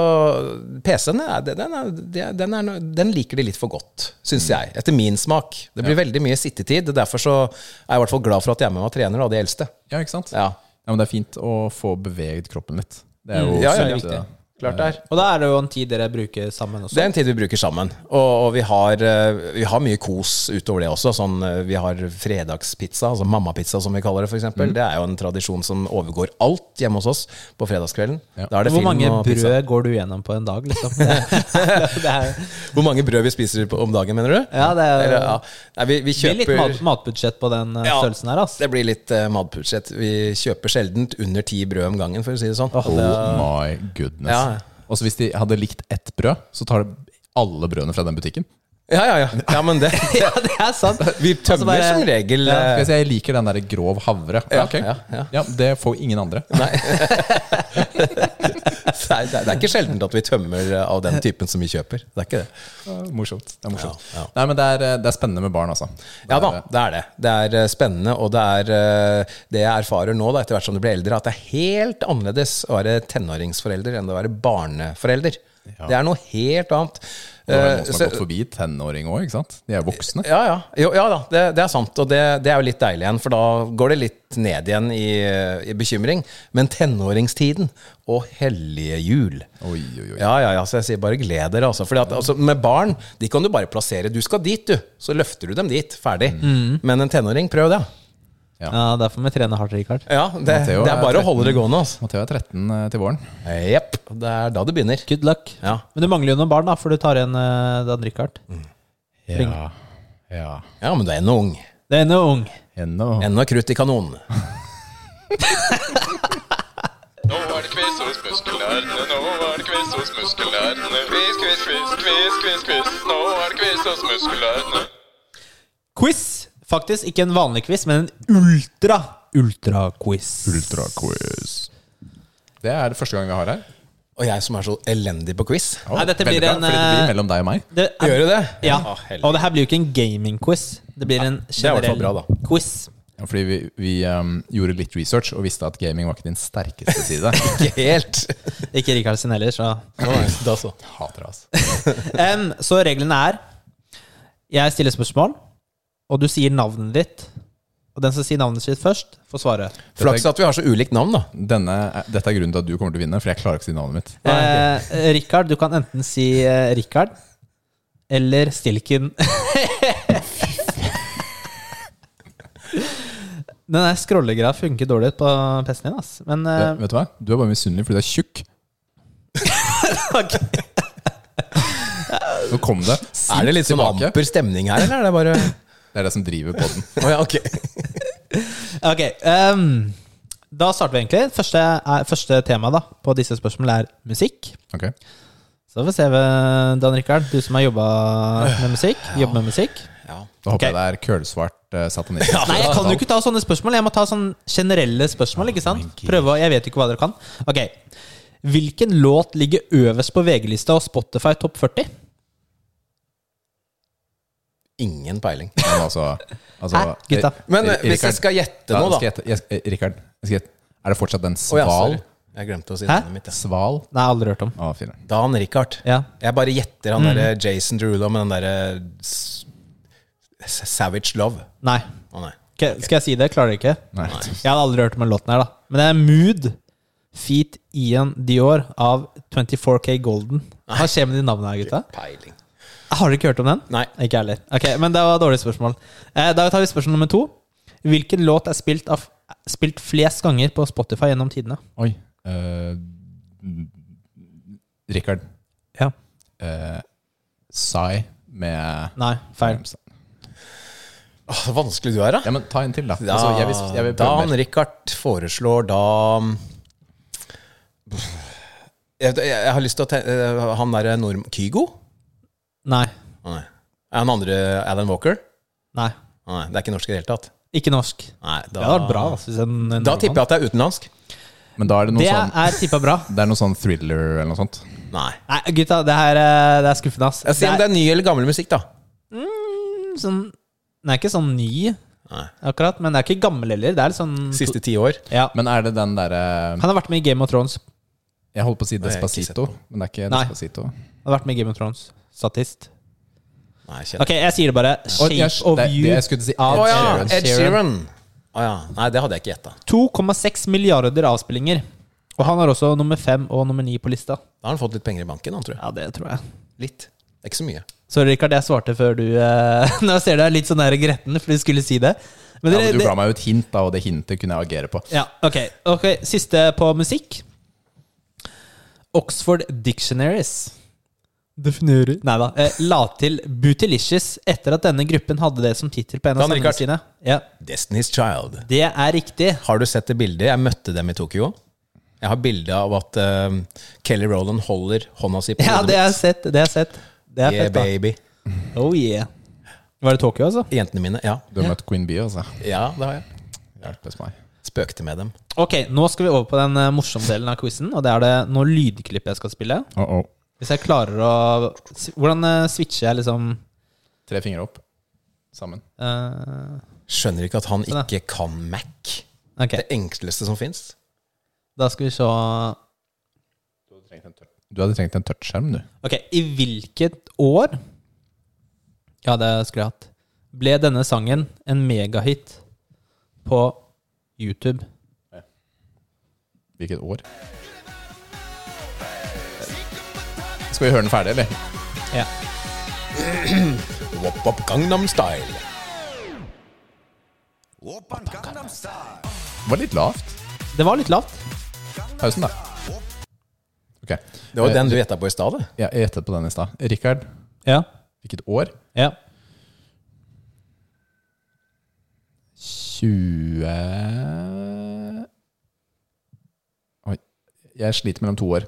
PC-en er, den, er, det- den, er, no- den liker de litt for godt, syns jeg. Etter min smak. Det blir veldig mye sittetid. og Derfor så er jeg i hvert fall glad for at jeg er med meg og trener, da, de eldste. Ja, ikke sant? Ja, Ja, men det er fint å få beveget kroppen litt. Det er jo Mm, ja, ja, sunt, riktig. ja. klart det er. Og da er det jo en tid dere bruker sammen også. Det er en tid vi bruker sammen. Og, og vi, har, eh, vi har mye kos utover det også. Sånn, eh, vi har fredagspizza, altså mammapizza som vi kaller det f.eks. Mm. eksempel Det er jo en tradisjon som overgår alt hjemme hos oss på fredagskvelden. Ja. Da er det Hvor film mange og brød pizza. går du gjennom på en dag, liksom? det er, Hvor mange brød vi spiser på, om dagen, mener du? ja, det er, Eller, ja. Nei, vi, vi det blir litt kjøper mat, matbudsjett på den eh, Ja. størrelsen her, altså. Det blir litt uh, matbudsjett. Vi kjøper sjeldent under ti brød om gangen, for å si det sånn. Oh my goodness. Ja. Og så hvis de hadde likt ett brød, så tar de alle brødene fra den butikken. Ja, ja, ja. ja men det, Ja, det er sant. vi tømmer Altså bare- som regel Skal eh, jeg si jeg liker den der grov havre. Ja, ok. ja, ja. Det får ingen andre. Nei. det, er, det er ikke sjeldent at vi tømmer eh, av den typen som vi kjøper. Det er ikke det. Ja, Morsomt. Det er morsomt. Ja, ja. Nei, men det er, eh, det er spennende med barn, altså. Ja da, det er det. Det er eh, spennende, og det er eh, det jeg erfarer nå, da, etter hvert som du blir eldre, at det er helt annerledes å være tenåringsforelder enn å være barneforelder. Det er noe helt annet. Det er noen Eh, som så- har gått forbi tenåring òg, ikke sant? De er voksne. Ja, ja. Jo, ja da, det, det er sant. Og det, det er jo litt deilig igjen, for da går det litt ned igjen i, i bekymring. Men tenåringstiden og hellige jul Oi, oi, oi. Ja, ja, ja, så jeg sier bare gled dere, altså. Fordi at altså, med barn, de kan du bare plassere. Du skal dit, du. Så løfter du dem dit. Ferdig. Mm. Men en tenåring, prøv det. Ja, derfor må vi trene hardt, Rikard. Ja, det, Matteo det er er bare å 13. holde det gående, altså. Matheo er 13 til våren. Jepp. Det er da det begynner. Good luck. Ja. Mm. Men du mangler jo noen barn, da, for du tar igjen eh, Dan Rikard. Ja. ja. ja, men du er ennå ung. Det er ennå ung. Ennå. Ennå krutt i kanonen. Nå er det quiz hos muskelnerdene, nå er det quiz hos muskelnerdene. Quiz, quiz, quiz, quiz, quiz, quiz. Nå er det quiz hos muskelnerdene. Quiz Faktisk ikke en vanlig quiz, men en ultra, ultra-quiz. Ultraquiz. Det er det første gang vi har her. Og jeg som er så elendig på quiz. Å, Nei, dette veldig blir en, bra, fordi det eh, blir mellom deg og meg. Det er- Gjør du det? Ja. Å, helvete. Og det her blir jo ikke en gaming-quiz. Det blir en er i hvert fall generell bra, da. quiz. Ja, fordi vi, vi ehm, gjorde litt research og visste at gaming var ikke din sterkeste side. Ikke helt. Ikke Rikard sin heller, så da så. Hater det, altså. Em, Så reglene er Jeg stiller spørsmål, og du sier navnet ditt. Og den som sier navnet sitt først, får svare. Flaks at vi har så ulikt navn, da. Denne, er- dette er grunnen til at du kommer til å vinne, for jeg klarer ikke å si navnet mitt. Eh, Rikard, du kan enten si eh, Rikard eller Stilken. Den der scrollegreia funker dårlig på PC-en din, ass. Men eh, Det, vet du hva? Du er bare misunnelig fordi du er tjukk. ok. Nå kom det. Er det litt sånn Tilbake. amper stemning her, eller er det bare Å Det er det som driver på den. ja, ok. Ok, ehm, da starter vi egentlig. Første, er, første tema da, på disse spørsmålene er musikk. Ok. Så får vi se, eh, Dan Rikard, du som har jobba med musikk. Jobber med musikk. Ja. Da Ok. håper jeg det er kølsvart eh, satanist. Nei, jeg kan jo ikke ta sånne spørsmål. Jeg må ta sånne generelle spørsmål. ikke sant? Prøve å, Jeg vet jo ikke hva dere kan. Ok, Hvilken låt ligger øverst på VG-lista og Spotify topp 40? Ingen peiling. Men altså, altså Hæ, gutta? Men eh, hvis jeg skal gjette nå, da Skal jeg, gjette- jeg, eh, Rikard, jeg skal gjette. Er det fortsatt den Å ja, sval? sorry. Jeg glemte å si Hæ? navnet mitt. ja. sval? Nei, aldri hørt om. Å, fineren. Dan Richard. Ja. Jeg bare gjetter han derre Jason Derulo med den derre s- s- Savage Love. Nei. Å nei. Ok, Skal jeg si det? Klarer dere ikke? Nei. Jeg hadde aldri hørt om den låten her, da. Men det er Mood Feet Ian Dior av 24K Golden. Hva skjer med de navnene her, gutta? Peiling. Har dere ikke hørt om den? Nei. Ikke jeg heller. Ok, Men det var et dårlig spørsmål. Eh, Da tar vi spørsmål nummer to. Hvilken låt er spilt, av, spilt flest ganger på Spotify gjennom tidene? Oi. eh, Rikard. Ja. eh, Psy med Nei, feil. Å, så vanskelig du er, da. Ja, men ta en til, da. da Altså, jeg vil, jeg vil prøve Dan mer. Richard foreslår da mm, jeg, vet- jeg har lyst til å tenke Han derre nordm... Kygo? Nei. Å nei. Er han andre Alan Walker? Nei. Å nei, det er ikke norsk i det hele tatt. Ikke norsk. Nei, da, Det hadde vært bra. altså, Hvis en, en Da tipper jeg at det er utenlandsk. Men da er det noe Det sånn er tippa bra. Det er noe sånn thriller eller noe sånt. Nei. Nei, gutta, det her eh, det er skuffende, ass. Jeg sier om det er ny eller gammel musikk, da. sånn Den er ikke sånn ny, Nei. akkurat. Men det er ikke gammel heller. Det er litt sånn Siste ti år. Ja. Men er det den derre Han har vært med i Game of Thrones. Jeg holdt på å si jeg har ikke sett Despacito, men det er ikke Nei. Despacito. Han har vært med i Game of Thrones. Statist. Nei, kjenner Ok, jeg sier det bare. Og jeg- Shape of det, det, You jeg skulle si av Å ja, Ed Sheeran. Ed Sheeran. Å ja. Nei, det hadde jeg ikke gjetta. 2,6 milliarder avspillinger. Og han har også nummer fem og nummer ni på lista. Da har han fått litt penger i banken, han, tror jeg. Ja, det tror jeg. Litt. Det er Ikke så mye. Sorry, Rikard, jeg svarte før du eh, Nå ser du jeg er litt sånn der gretten, for du skulle si det. Men Ja, dere, men du det- ga meg jo et hint, da, og det hintet kunne jeg agere på. Ja, ok. ok. Siste på musikk. Oxford Dictionaries definerer Nei da. Eh, la til Bootylicious etter at denne gruppen hadde det som tittel på en av Dan sangene Rikard. sine. Ja, Destiny's Child. Det er riktig. Har du sett det bildet? Jeg møtte dem i Tokyo. Jeg har bilde av at eh, Kelly Rowland holder hånda si på Ja, det mitt. har jeg sett. Det har jeg sett. Det er Yeah, fett, da. baby. Oh yeah. Var det Tokyo, altså? Jentene mine. Ja. Du har møtt Queen Bee, altså. ja, det har jeg. Hjelpes meg. Spøkte med dem. Ok, nå skal vi over på den eh, morsomme delen av quizen, og det er det noe lydklipp jeg skal spille. Oh, oh. Hvis jeg klarer å Hvordan eh, switcher jeg liksom Tre fingre opp. Sammen. eh, Skjønner ikke at han Sånn, ikke kan Mac. Ok, Det enkleste som fins. da skal vi se Du hadde trengt en touchskjerm, du. Ok, i hvilket år Ja, det skulle jeg hatt. Ble denne sangen en megahit på YouTube? Hvilket år? Skal vi høre den ferdig, eller? Ja. Wop, wop, Gangnam Style. Det var litt lavt. Det var litt lavt. Pausen, da. Ok. Det var jo Eh, den du gjetta på i stad. det. Jeg gjettet på den i stad. Rikard, Ja. hvilket år? ja. 20 Oi. Jeg sliter mellom to år.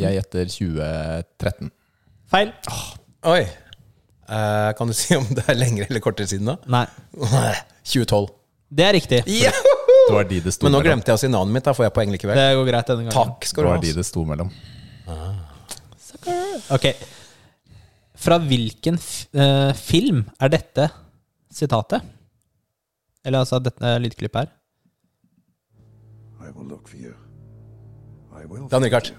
Jeg gjetter 2013. Feil. Oi. Eh, kan du si om det er lengre eller kortere siden da? Nei. 2012. Det er riktig. Det var de det sto Men nå mellom. glemte jeg å si navnet mitt, da får jeg poeng likevel. Det går greit denne gangen. Takk Det skal du var ha. de det sto mellom. Ok. Fra hvilken f eh, film er dette sitatet? Eller altså dette lydklippet her? I will look for you. I will. Dan Rikard.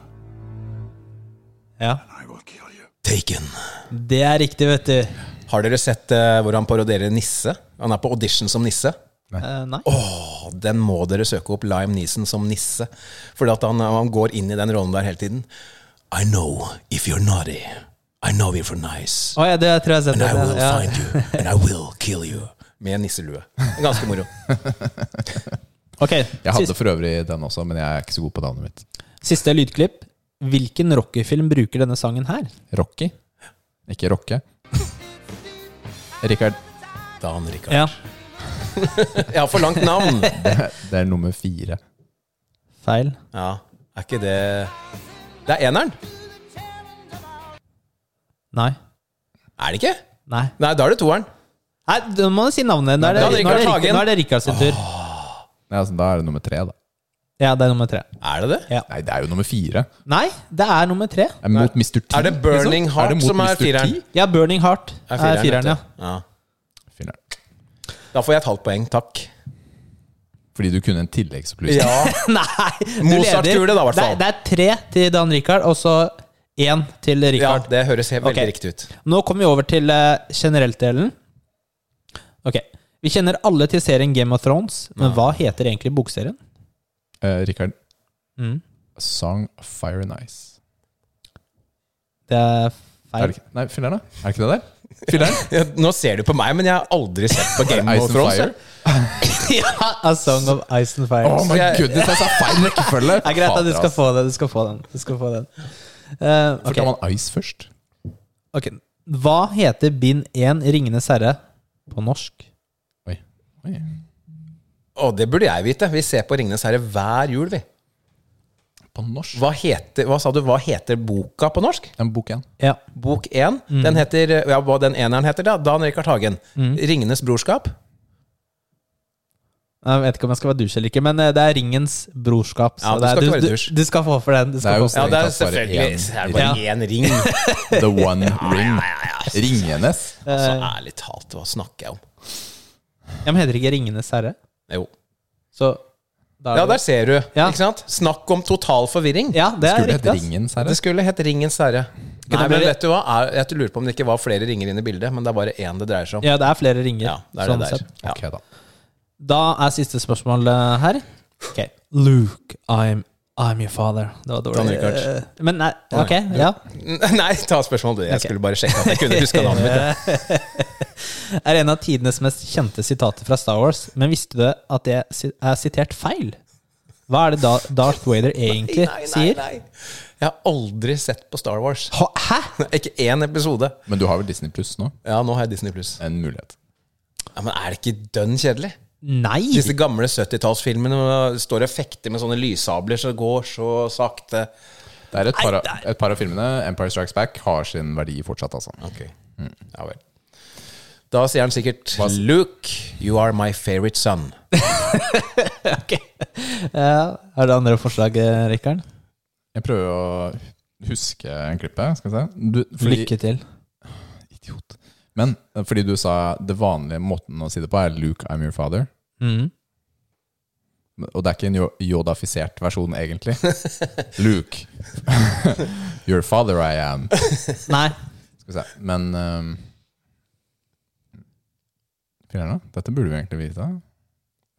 Ja. I will kill you. Taken. Det er riktig, vet du. Har dere sett eh, hvor han parodierer Nisse? Han er på audition som Nisse. Eh, nei. Åh, den må dere søke opp Lime Neeson som nisse. Fordi at han, han går inn i den rollen der hele tiden. I know if you're naughty. I know if you're nice. Å ja, det tror jeg har sett. And I will det, ja. find you. And I will kill you. Med nisselue. Ganske moro. Ok, Jeg hadde siste, for øvrig den også, men jeg er ikke så god på navnet mitt. siste lydklipp. Hvilken rockefilm bruker denne sangen her? Rocky. Ikke Rocke. Rikard, Dan Rikard. Ja, Jeg har for langt navn! det er nummer fire. feil. Ja, er ikke det Det er eneren? Nei. Er det ikke? Nei, Nei, da er det toeren. Nei nå må du si navnet. Nå er det, Dan Rikard nå er det, Hagen. Rikard- nå er det Rikard sin tur. Nei, altså, da er det nummer tre, da. Ja, det er nummer tre. Er det det? Ja. Nei, det er jo nummer fire. Nei, det er nummer tre. Er det mot Mr. T. Er det Burning liksom? Heart det mot som er Mr. T? fireren? Ja, Burning Heart er fireren, ja. vet du. ja. Fireren. Da får jeg et halvt poeng, takk. Fordi du kunne en tilleggsopplysning. Nei, du Mozart leder. gjorde det da, i hvert Det, fall. er- det er tre til Dan Rikard, og så én til Ja, Rikard. det høres helt Ok. veldig riktig ut. Nå kommer vi over til eh, generelt-delen. Ok. Vi kjenner alle til serien Game of Thrones, men hva heter egentlig bokserien? Eh, Rikard. Mm. Song of Fire and Ice. Det er Er feil. det, ikke- nei, fireren, da? Er det ikke det der? Fireren? Ja, nå ser du på meg, men jeg har aldri sett på Game Ice of and Thrones. Fire? jeg. ja, A Song of Ice and Fire. Oh my Jeg- goodness, jeg sa feil rekkefølge! det er greit at du Fader, skal ass. få den. Du skal få den. Du skal få den. Eh, Hvorfor ok. tar man Ice først? ok. Hva heter bind 1 Ringenes herre på norsk? Oi. Oi. Å, det burde jeg vite. Vi ser på Ringenes herre hver jul, vi. På norsk. Hva, heter, hva sa du, hva heter boka på norsk? En bok igjen. Ja. Bok én. Den heter Ja, hva den eneren heter, da? Dan Rikard Hagen. 'Ringenes brorskap'. Jeg vet ikke om jeg skal være dusj eller ikke, men eh, det er Ringens brorskap. Så Ja, du det skal ikke er, være du, dusj. du, du skal få for den. Du Det er skal jo få for Ja, den. det er Strengt tatt bare selvfølgelig én Det er bare ring. én ring. The One Ring. Ringenes. Altså, ærlig talt, hva snakker jeg om? Ja, men heter det ikke Ringenes herre? Jo. Så da er Ja, der det ser du. Ja. Ikke sant? Snakk om total forvirring. Ja, det er Skulle hett riktig. ass. Ringens Det herre. skulle hett Ringens herre. Nei, da blir men det- vet du hva? Er- Jeg lurer på om det ikke var flere ringer inne i bildet, men det er bare én det dreier seg om. Ja, det er flere ringer. Ja, det er det sånn der. sett. Ja. Ok, da. Da er siste spørsmål eh, her. Ok. Luke, I'm, I'm your father. Det var Dan dårlig. Rikard. eh, Men nei, ok, ja. Nei, ta spørsmålet. Jeg Ok. skulle bare sjekke at jeg kunne huske navnet mitt. Er en av tidenes mest kjente sitater fra Star Wars, men visste du at det si- er sitert feil? Hva er det da Darth Vader egentlig sier? Jeg har aldri sett på Star Wars. Hå- Hæ? Ikke én episode. Men du har vel Disney Pluss nå? Ja, nå har jeg Disney Pluss. En mulighet. Ja, men er det ikke dønn kjedelig? Nei! Disse gamle 70-tallsfilmene hvor de står og fekter med sånne lyssabler som går så sakte. Det er et par, av- et par av filmene. Empire Strikes Back har sin verdi fortsatt, altså. Ok, ja vel. Da sier han sikkert Luke, you are my favorite son. Ja, Eh, er det andre forslag, eh, Rikard? Jeg prøver å huske en klippet. Skal vi se. Du, fordi, Lykke til. Idiot. Men eh, fordi du sa det vanlige måten å si det på, er Luke, I'm your father. Mhm. Men- Og det er ikke en jo- jodafisert versjon, egentlig. Luke. your father I am. Nei. Skal vi se. Men um, Fjerna? Dette burde vi egentlig vite.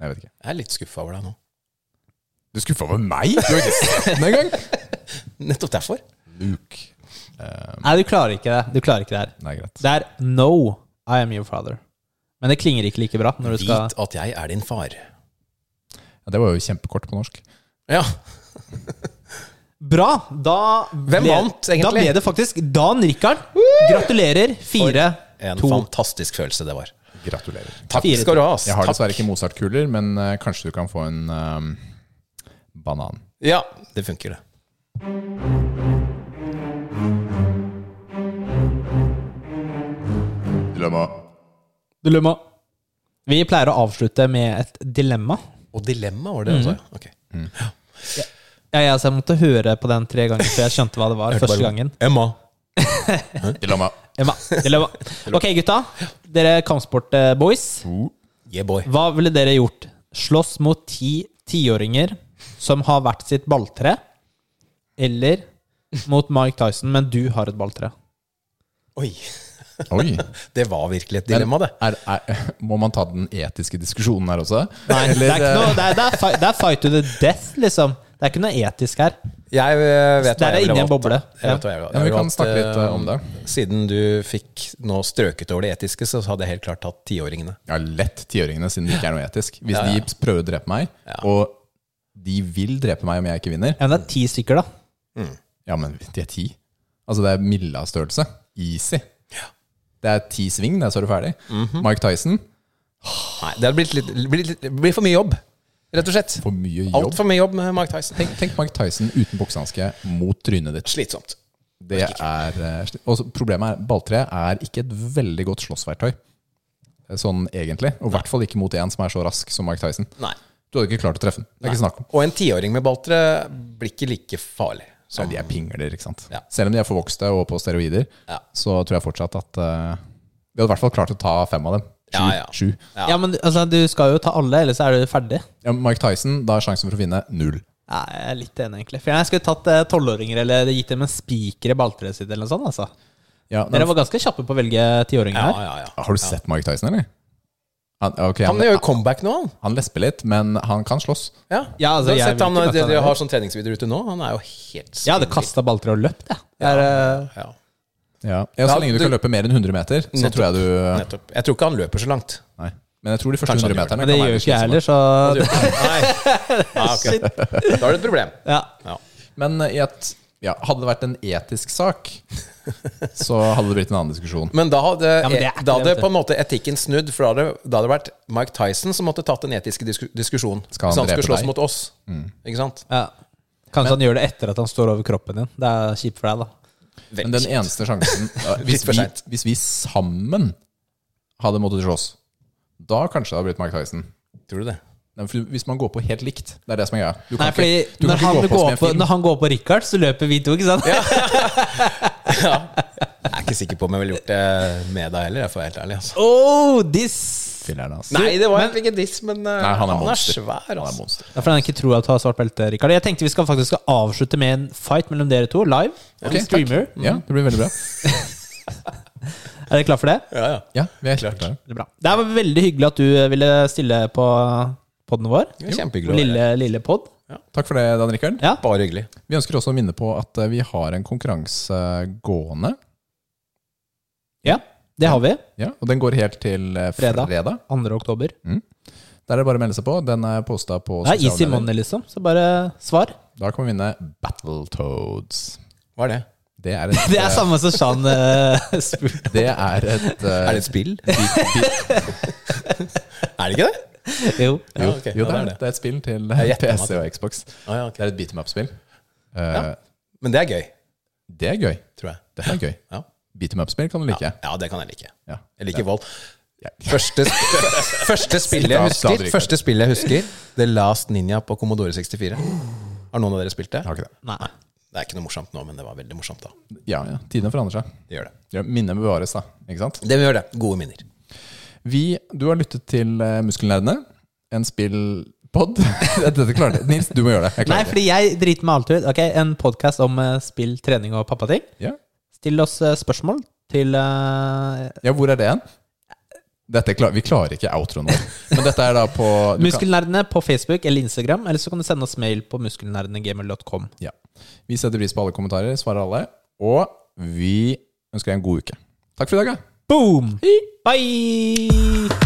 Jeg vet ikke. Jeg er litt skuffa over deg nå. Du skuffa over meg? Du har ikke sett den engang! Nettopp derfor. Luke. Eh, Nei, du klarer ikke det. Du klarer ikke det her. nei, greit. Det er No, I am your father. Men det klinger ikke like bra når du skal Vit at jeg er din far. Ja, det var jo kjempekort på norsk. Ja, Bra! Da ble, Hvem vant, egentlig? Da ble det faktisk Dan Rikard. Gratulerer. Fire, En to fantastisk følelse det var. Gratulerer. Takk Fire, skal du ha. ass. Jeg har Takk. dessverre ikke Mozart-kuler, men eh, kanskje du kan få en eh, banan. Ja, det funker, det. Dilemma. Dilemma. Vi pleier å avslutte med et dilemma. Og dilemma var det, altså? Ok. Jeg, jeg, jeg måtte høre på den tre ganger før jeg skjønte hva det var første gangen. Emma. Dilemma. Emma, dilemma. Ok, gutta. Dere kampsport-boys. Yeah, boy. Hva ville dere gjort? Slåss mot ti tiåringer som har hvert sitt balltre? Eller mot Mike Tyson, men du har et balltre? Oi. Oi. Det var virkelig et dilemma, det. Er, er, må man ta den etiske diskusjonen her også? Nei, det er, ikke eh, noe, det, er, det, er fight, det er fight to the death, liksom. Det er ikke noe etisk her. Jeg eh, vet Der hva er jeg ville inni en valgt. boble. Jeg vet hva jeg ville valgt. Ja, vi Jeg ville kan valgt, snakke litt, eh, eh, om det. Siden du fikk nå strøket over det etiske, så hadde jeg helt klart tatt tiåringene. Ja, lett tiåringene, siden det ikke er noe etisk. Hvis Ja, ja. de prøver å drepe meg, og de vil drepe meg om jeg ikke vinner, Ja, men det er ti stykker, da. ja, men de er ti. Altså, det er Milla-størrelse. Easy. Det er ti sving, det, så er du ferdig. Mike Tyson, Nei, det hadde blitt litt, blitt, litt- det blir for mye jobb, rett og slett. for mye jobb. Altfor mye jobb med Mark Tyson. Tenk, tenk Mike Tyson uten boksehanske mot trynet ditt. Slitsomt. Det er eh, sli- Og så problemet er balltre er ikke et veldig godt slåssverktøy. Eh, Sånn egentlig. Og i hvert fall ikke mot en som er så rask som Mike Tyson. Nei. Du hadde ikke klart å treffe den. Det er ikke snakk om. Og en tiåring med balltre blir ikke like farlig. Nei, Som, de er pingler, ikke sant. Ja. Selv om de er forvokste og på steroider, Ja. så tror jeg fortsatt at eh, Vi hadde i hvert fall klart å ta fem av dem. Sju. Ja, ja. sju. Ja, men altså, du skal jo ta alle, ellers er du ferdig. Ja, Mike Tyson, da er sjansen for å vinne null. Ja, jeg er litt enig, egentlig. For jeg skulle tatt eh, tolvåringer eller gitt dem en spiker i balltreet sitt eller noe sånt. altså. Ja, men, Dere var ganske kjappe på å velge tiåringer ja, her. ja, ja. har du sett Mike Tyson, eller? Han, ok, Han han, gjør jo comeback nå, han. han lesper litt, men han kan slåss. Ja. Ja, altså, du har jeg sett vil han ikke møte de, han de heller. har sånn treningsvideo ute nå. Han er jo helt Jeg hadde spinnvill. kasta balltre og løpt, jeg. Det er, eh, Ja, Ja. Ja, så Ja, lenge du du- kan løpe mer enn 100 meter, så Nettopp. tror jeg du eh, nettopp. Jeg tror ikke han løper så langt. Nei. Men jeg tror de første Kanskje 100 han gjør det. meterne Men det kan gjør være jo litt ikke jeg slitsomme. heller, så Han gjør ikke det. Nei. Nei, Ah, ok. Da er det et problem. ja. Ja. Men i et, ja, hadde det vært en etisk sak, så hadde det blitt en annen diskusjon. Men da hadde, eh, Ja, men det er ikke da det, hadde vet du. på en måte etikken snudd, for da hadde, da hadde det vært Mike Tyson som måtte tatt den etiske disku diskusjonen. Skal han hvis han drepe skulle slåss deg? mot oss. Ikke sant? Ja. Kanskje han gjør det etter at han står over kroppen din. Det er kjipt for deg, da. Men den eneste sjansen ja, hvis, Litt for vi, sent. hvis vi sammen hadde måttet slåss, da kanskje det hadde blitt Mike Tyson. Tror du det? Nei, for Hvis man går på helt likt. Det er det som er greia. Du Nei, kan fordi ikke, du når, kan han ikke gå på går som i en på, film. når han går på Richard, så løper vi to, ikke sant? Jeg er ikke sikker på om jeg ville gjort det med deg heller, jeg får være helt ærlig. Altså. Oh, this! Filler'n, altså. Nei, det var egentlig ikke diss, men eh, Nei, han er han er monster. svær. Han er Altså. monster. Det er fordi han ikke tror at du har svart belte, Richard. Jeg tenkte vi skal faktisk skal avslutte med en fight mellom dere to, live. Ok, Vi takk. streamer. Ja, det blir veldig bra. Er dere klar for det? Ja, ja. Ja, vi er helt klare. Det, er bra. det var veldig hyggelig at du eh, ville stille på podden vår. Det er kjempehyggelig å Lille, lille pod. Takk for det, Dan Rikard. Ja. Bare hyggelig. Vi ønsker også å minne på at eh, vi har en konkurranse gående. Ja, det har vi. Ja, og den går helt til eh, Fredag. fredag. 2. oktober. Der er det bare å melde seg på. Den er posta på Det er easy sosiale medier. money, liksom. Så bare svar. Da kan vi vinne Battletoads. Hva er det? Det er et, Det er samme som Shan eh, spurte. det er et, eh, Er det et spill? er det ikke det? Jo. Jo, Ja, ok. jo Ja, det, er, det. det er et spill til eh, gjetter meg PC og Xbox. Ah, ja, ok. Det er et beat em up-spill. Eh, Men det er gøy, Det er gøy. tror jeg. Dette er gøy. Ja. Beat em up-spill kan du like. Ja, ja, det kan jeg like. Ja. Jeg liker vold. Første, sp- første, spillet jeg Bra, bra, husker, Richard. første spillet jeg husker, The Last Ninja på Commodore 64. Har noen av dere spilt det? Jeg har ikke det. Nei. Det er ikke noe morsomt nå, men det var veldig morsomt da. Ja, ja. Tidene forandrer seg. Det gjør det. Ja, minnet bevares, da. Ikke sant? Det gjør det. Gode minner. Vi, du har lyttet til eh, Muskelnerdene. En spillpod. Dette klarer jeg. Nils, du må gjøre det. Jeg Nei, klarer det. fordi jeg driter meg alltid ut. Ok, En podkast om eh, spill, trening og pappating. Ja. Still oss eh, spørsmål til eh, ja, hvor er det hen? Dette klar, vi klarer ikke outroen vår. Men dette er da på du kan- Muskelnerdene på Facebook eller Instagram. Eller så kan du sende oss mail på muskelnerdene.gmail.com. Ja. Vi setter pris på alle kommentarer, svarer alle. Og vi ønsker deg en god uke. Takk for i dag. Ja. Boom! Bye!